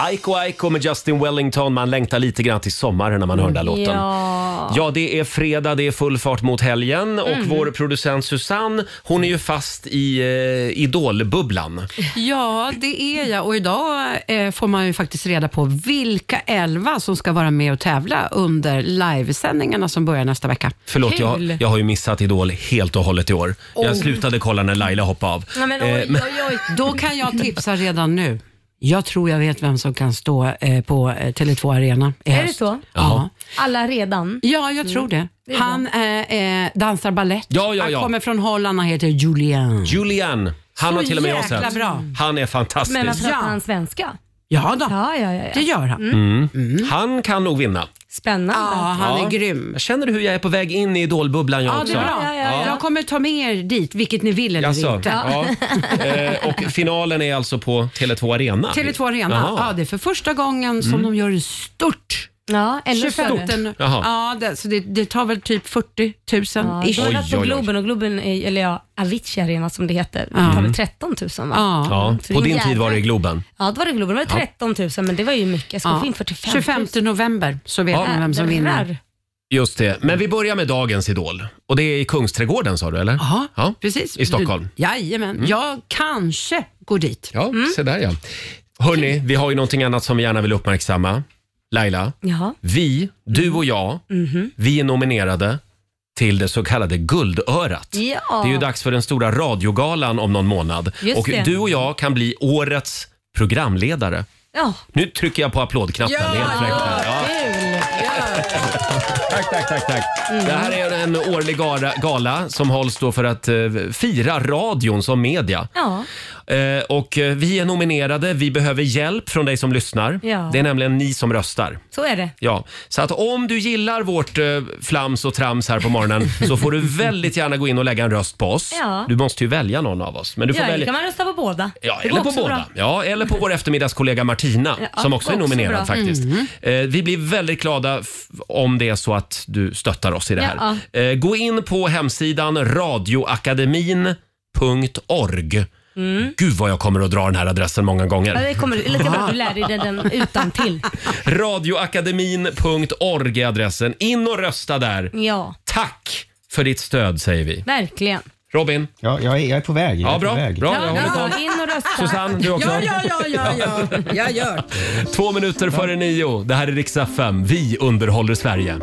Speaker 1: Aiko Aiko med Justin Wellington. Man längtar lite grann till sommaren när man hör den där låten.
Speaker 2: Ja.
Speaker 1: Ja, det är fredag, det är full fart mot helgen och
Speaker 16: Mm.
Speaker 1: vår producent Susanne, hon är ju fast i eh, idolbubblan.
Speaker 5: Ja, det är jag. Och idag eh, får man ju faktiskt reda på vilka elva som ska vara med och tävla under livesändningarna som börjar nästa vecka.
Speaker 1: Förlåt, jag,
Speaker 5: Kul.
Speaker 1: jag har ju missat Idol helt och hållet i år.
Speaker 5: Oh.
Speaker 1: Jag slutade kolla när Laila hoppade av.
Speaker 5: Ja, men, oj,
Speaker 1: Eh, men-
Speaker 5: oj, oj. Då kan jag tipsa redan nu. Jag tror jag vet vem som kan stå eh, på eh, Tele2 Arena i
Speaker 2: Är det
Speaker 5: höst.
Speaker 2: så?
Speaker 5: Ja.
Speaker 2: Alla redan? Mm.
Speaker 5: Ja, jag tror det.
Speaker 2: Det är bra.
Speaker 5: Han eh, eh, dansar ballett.
Speaker 1: Ja, ja, ja.
Speaker 5: Han kommer från Holland, han heter Julian.
Speaker 1: Julian, han
Speaker 5: Så
Speaker 1: har till och med jag
Speaker 5: jäkla
Speaker 1: sett.
Speaker 5: bra.
Speaker 1: Han är fantastisk.
Speaker 2: Men vad
Speaker 5: alltså,
Speaker 2: pratar han svenska?
Speaker 5: Ja, då.
Speaker 2: Ja, ja, ja, ja.
Speaker 5: det gör han.
Speaker 1: Mm. Han kan nog vinna.
Speaker 2: Spännande.
Speaker 1: Ja.
Speaker 5: grym.
Speaker 1: Jag känner hur jag är på väg in i idolbubblan jag
Speaker 5: Ja,
Speaker 1: också.
Speaker 5: det är bra. Jag kommer ta med er dit, vilket ni vill eller
Speaker 1: Jaså,
Speaker 5: inte.
Speaker 1: ja. *laughs* Eh, och finalen är alltså på Tele2 Arena?
Speaker 5: *laughs* Tele2 Arena.
Speaker 1: Jaha.
Speaker 5: Ja, det är för första gången som
Speaker 1: Mm.
Speaker 5: de gör det stort.
Speaker 2: Ja,
Speaker 1: ännu större.
Speaker 5: större.
Speaker 1: Jaha.
Speaker 5: Ja, det, så det, det tar väl typ 40
Speaker 2: Ja,
Speaker 5: 000
Speaker 2: de
Speaker 5: ish.
Speaker 2: har varit på Globen och Globen, är, eller ja, Avicii Arena som det heter, det tar
Speaker 1: Mm.
Speaker 2: väl 13 000 va?
Speaker 1: Ja,
Speaker 2: Så
Speaker 1: på
Speaker 2: det är
Speaker 1: din
Speaker 2: jävla-
Speaker 1: tid var det i Globen.
Speaker 2: Ja, då var det Globen. Då var
Speaker 1: Ja.
Speaker 2: det 13 000 men det var ju mycket. Jag skulle få in 45 000.
Speaker 5: 25 november så vet ni vem som vinner.
Speaker 1: Just det. Men vi börjar med dagens Idol. Och det är i Kungsträdgården sa du eller? ja,
Speaker 5: precis.
Speaker 1: I Stockholm.
Speaker 5: Du, jajamän,
Speaker 1: Mm.
Speaker 5: jag kanske går dit. Mm.
Speaker 1: Ja, se där ja. Hörni, vi har ju någonting annat som vi gärna vill uppmärksamma. Laila,
Speaker 2: Jaha.
Speaker 1: vi, du och jag,
Speaker 2: Mhm.
Speaker 1: vi är nominerade till det så kallade Guldörat.
Speaker 2: Ja.
Speaker 1: Det är ju dags för den stora radiogalan om någon månad.
Speaker 2: Just
Speaker 1: och
Speaker 2: det.
Speaker 1: du och jag kan bli årets programledare.
Speaker 2: Ja.
Speaker 1: Nu trycker jag på applådknappen. det är helt fräckt här. Ja.
Speaker 2: Kul!
Speaker 1: Tack, tack, tack. tack. Det här är en årlig gara, gala som hålls då för att eh, fira radion som media.
Speaker 3: Ja.
Speaker 1: Eh, och eh, vi är nominerade. Vi behöver hjälp från dig som lyssnar.
Speaker 2: Ja.
Speaker 1: Det är nämligen ni som röstar.
Speaker 2: Så är det.
Speaker 1: Ja, så att om du gillar vårt eh, flams och trams här
Speaker 2: *laughs*
Speaker 1: på morgonen så får du väldigt gärna gå in och lägga en röst på oss.
Speaker 2: Ja.
Speaker 1: Du måste ju välja någon av oss. Men du får
Speaker 2: ja,
Speaker 1: välja...
Speaker 2: kan man rösta på båda.
Speaker 1: Ja,
Speaker 2: Det går
Speaker 1: eller på
Speaker 2: också
Speaker 1: båda.
Speaker 2: bra.
Speaker 1: Ja, eller på vår eftermiddagskollega Martina
Speaker 2: Ja,
Speaker 1: som också är
Speaker 2: också
Speaker 1: nominerad
Speaker 2: bra.
Speaker 1: faktiskt.
Speaker 2: Mhm.
Speaker 1: Eh, vi blir väldigt glada f- om det är så att du stöttar oss i det här. Eh, gå in på hemsidan radioakademin.org.
Speaker 2: Mm.
Speaker 1: Gud vad jag kommer att dra den här adressen många gånger.
Speaker 2: Ja, det kommer det är lika bra att du lär dig den, den utan
Speaker 1: *laughs*
Speaker 2: till.
Speaker 1: Radioakademin.org är adressen. In och rösta där.
Speaker 2: Ja,
Speaker 1: Tack för ditt stöd säger vi.
Speaker 2: verkligen.
Speaker 1: Robin?
Speaker 17: Ja, jag är, jag är på väg.
Speaker 1: Ja, bra. bra. Jag håller koll.
Speaker 2: Ja, in och rösta.
Speaker 1: Susanne, du också?
Speaker 2: Ja, ja, ja, ja, ja. *laughs*
Speaker 1: Jag gör. Två minuter före nio. Det här är Rix FM. Vi underhåller Sverige.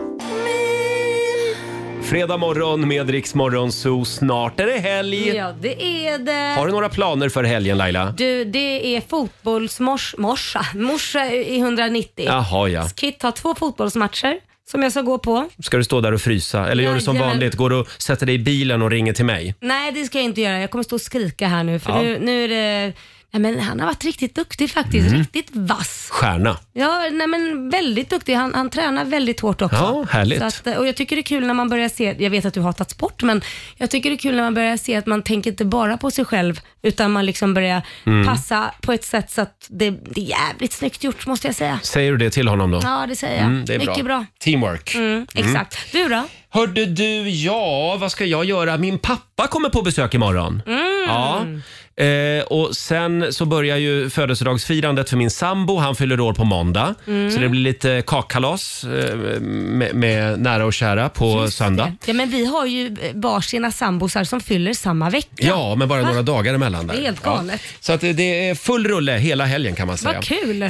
Speaker 1: Fredag morgon med Rix Morgon Zoo. Snart är det helg.
Speaker 2: Ja, det är det.
Speaker 1: Har du några planer för helgen Laila?
Speaker 2: Du, det är fotbollsmorsa. Morsa i 190.
Speaker 1: Jaha, ja.
Speaker 2: Kit har två fotbollsmatcher som jag ska gå på.
Speaker 1: Ska du stå där och frysa? Eller gör du som
Speaker 2: Jajamän.
Speaker 1: vanligt, går och sätter dig i bilen och ringer till mig?
Speaker 2: Nej, det ska jag inte göra. Jag kommer stå och skrika här nu för
Speaker 1: Ja.
Speaker 2: nu, nu är det... Nej, men han har varit riktigt duktig faktiskt.
Speaker 1: Mm.
Speaker 2: Riktigt vass.
Speaker 1: Stjärna.
Speaker 2: Ja, nej men väldigt duktig. Han, han tränar väldigt hårt också.
Speaker 1: Ja, härligt.
Speaker 2: Så att, eh, och jag tycker det är kul när man börjar se, jag vet att du hatat sport, men jag tycker det är kul när man börjar se att man tänker inte bara på sig själv, utan man liksom börjar
Speaker 1: Mm.
Speaker 2: passa på ett sätt så att det, det är jävligt snyggt gjort måste jag säga.
Speaker 1: Säger du det till honom då?
Speaker 2: Ja, det säger jag.
Speaker 1: Mm, det är
Speaker 2: Mycket bra.
Speaker 1: Teamwork.
Speaker 2: Mm, exakt. Du då?
Speaker 1: Hörde du, ja, vad ska jag göra? Min pappa kommer på besök imorgon.
Speaker 2: Mm.
Speaker 1: Ja. Eh, och sen så börjar ju födelsedagsfirandet för min sambo. Han fyller år på måndag.
Speaker 2: Mm.
Speaker 1: Så det blir lite kakkalas eh, med, med nära och kära på söndag.
Speaker 2: Ja, men vi har ju eh, varsina sambosar som fyller samma vecka.
Speaker 1: Ja, men bara
Speaker 2: Va?
Speaker 1: några dagar emellan. Där.
Speaker 2: Det är helt galet.
Speaker 1: Ja. Så att det- det är full rulle hela helgen kan man säga.
Speaker 2: Vad kul!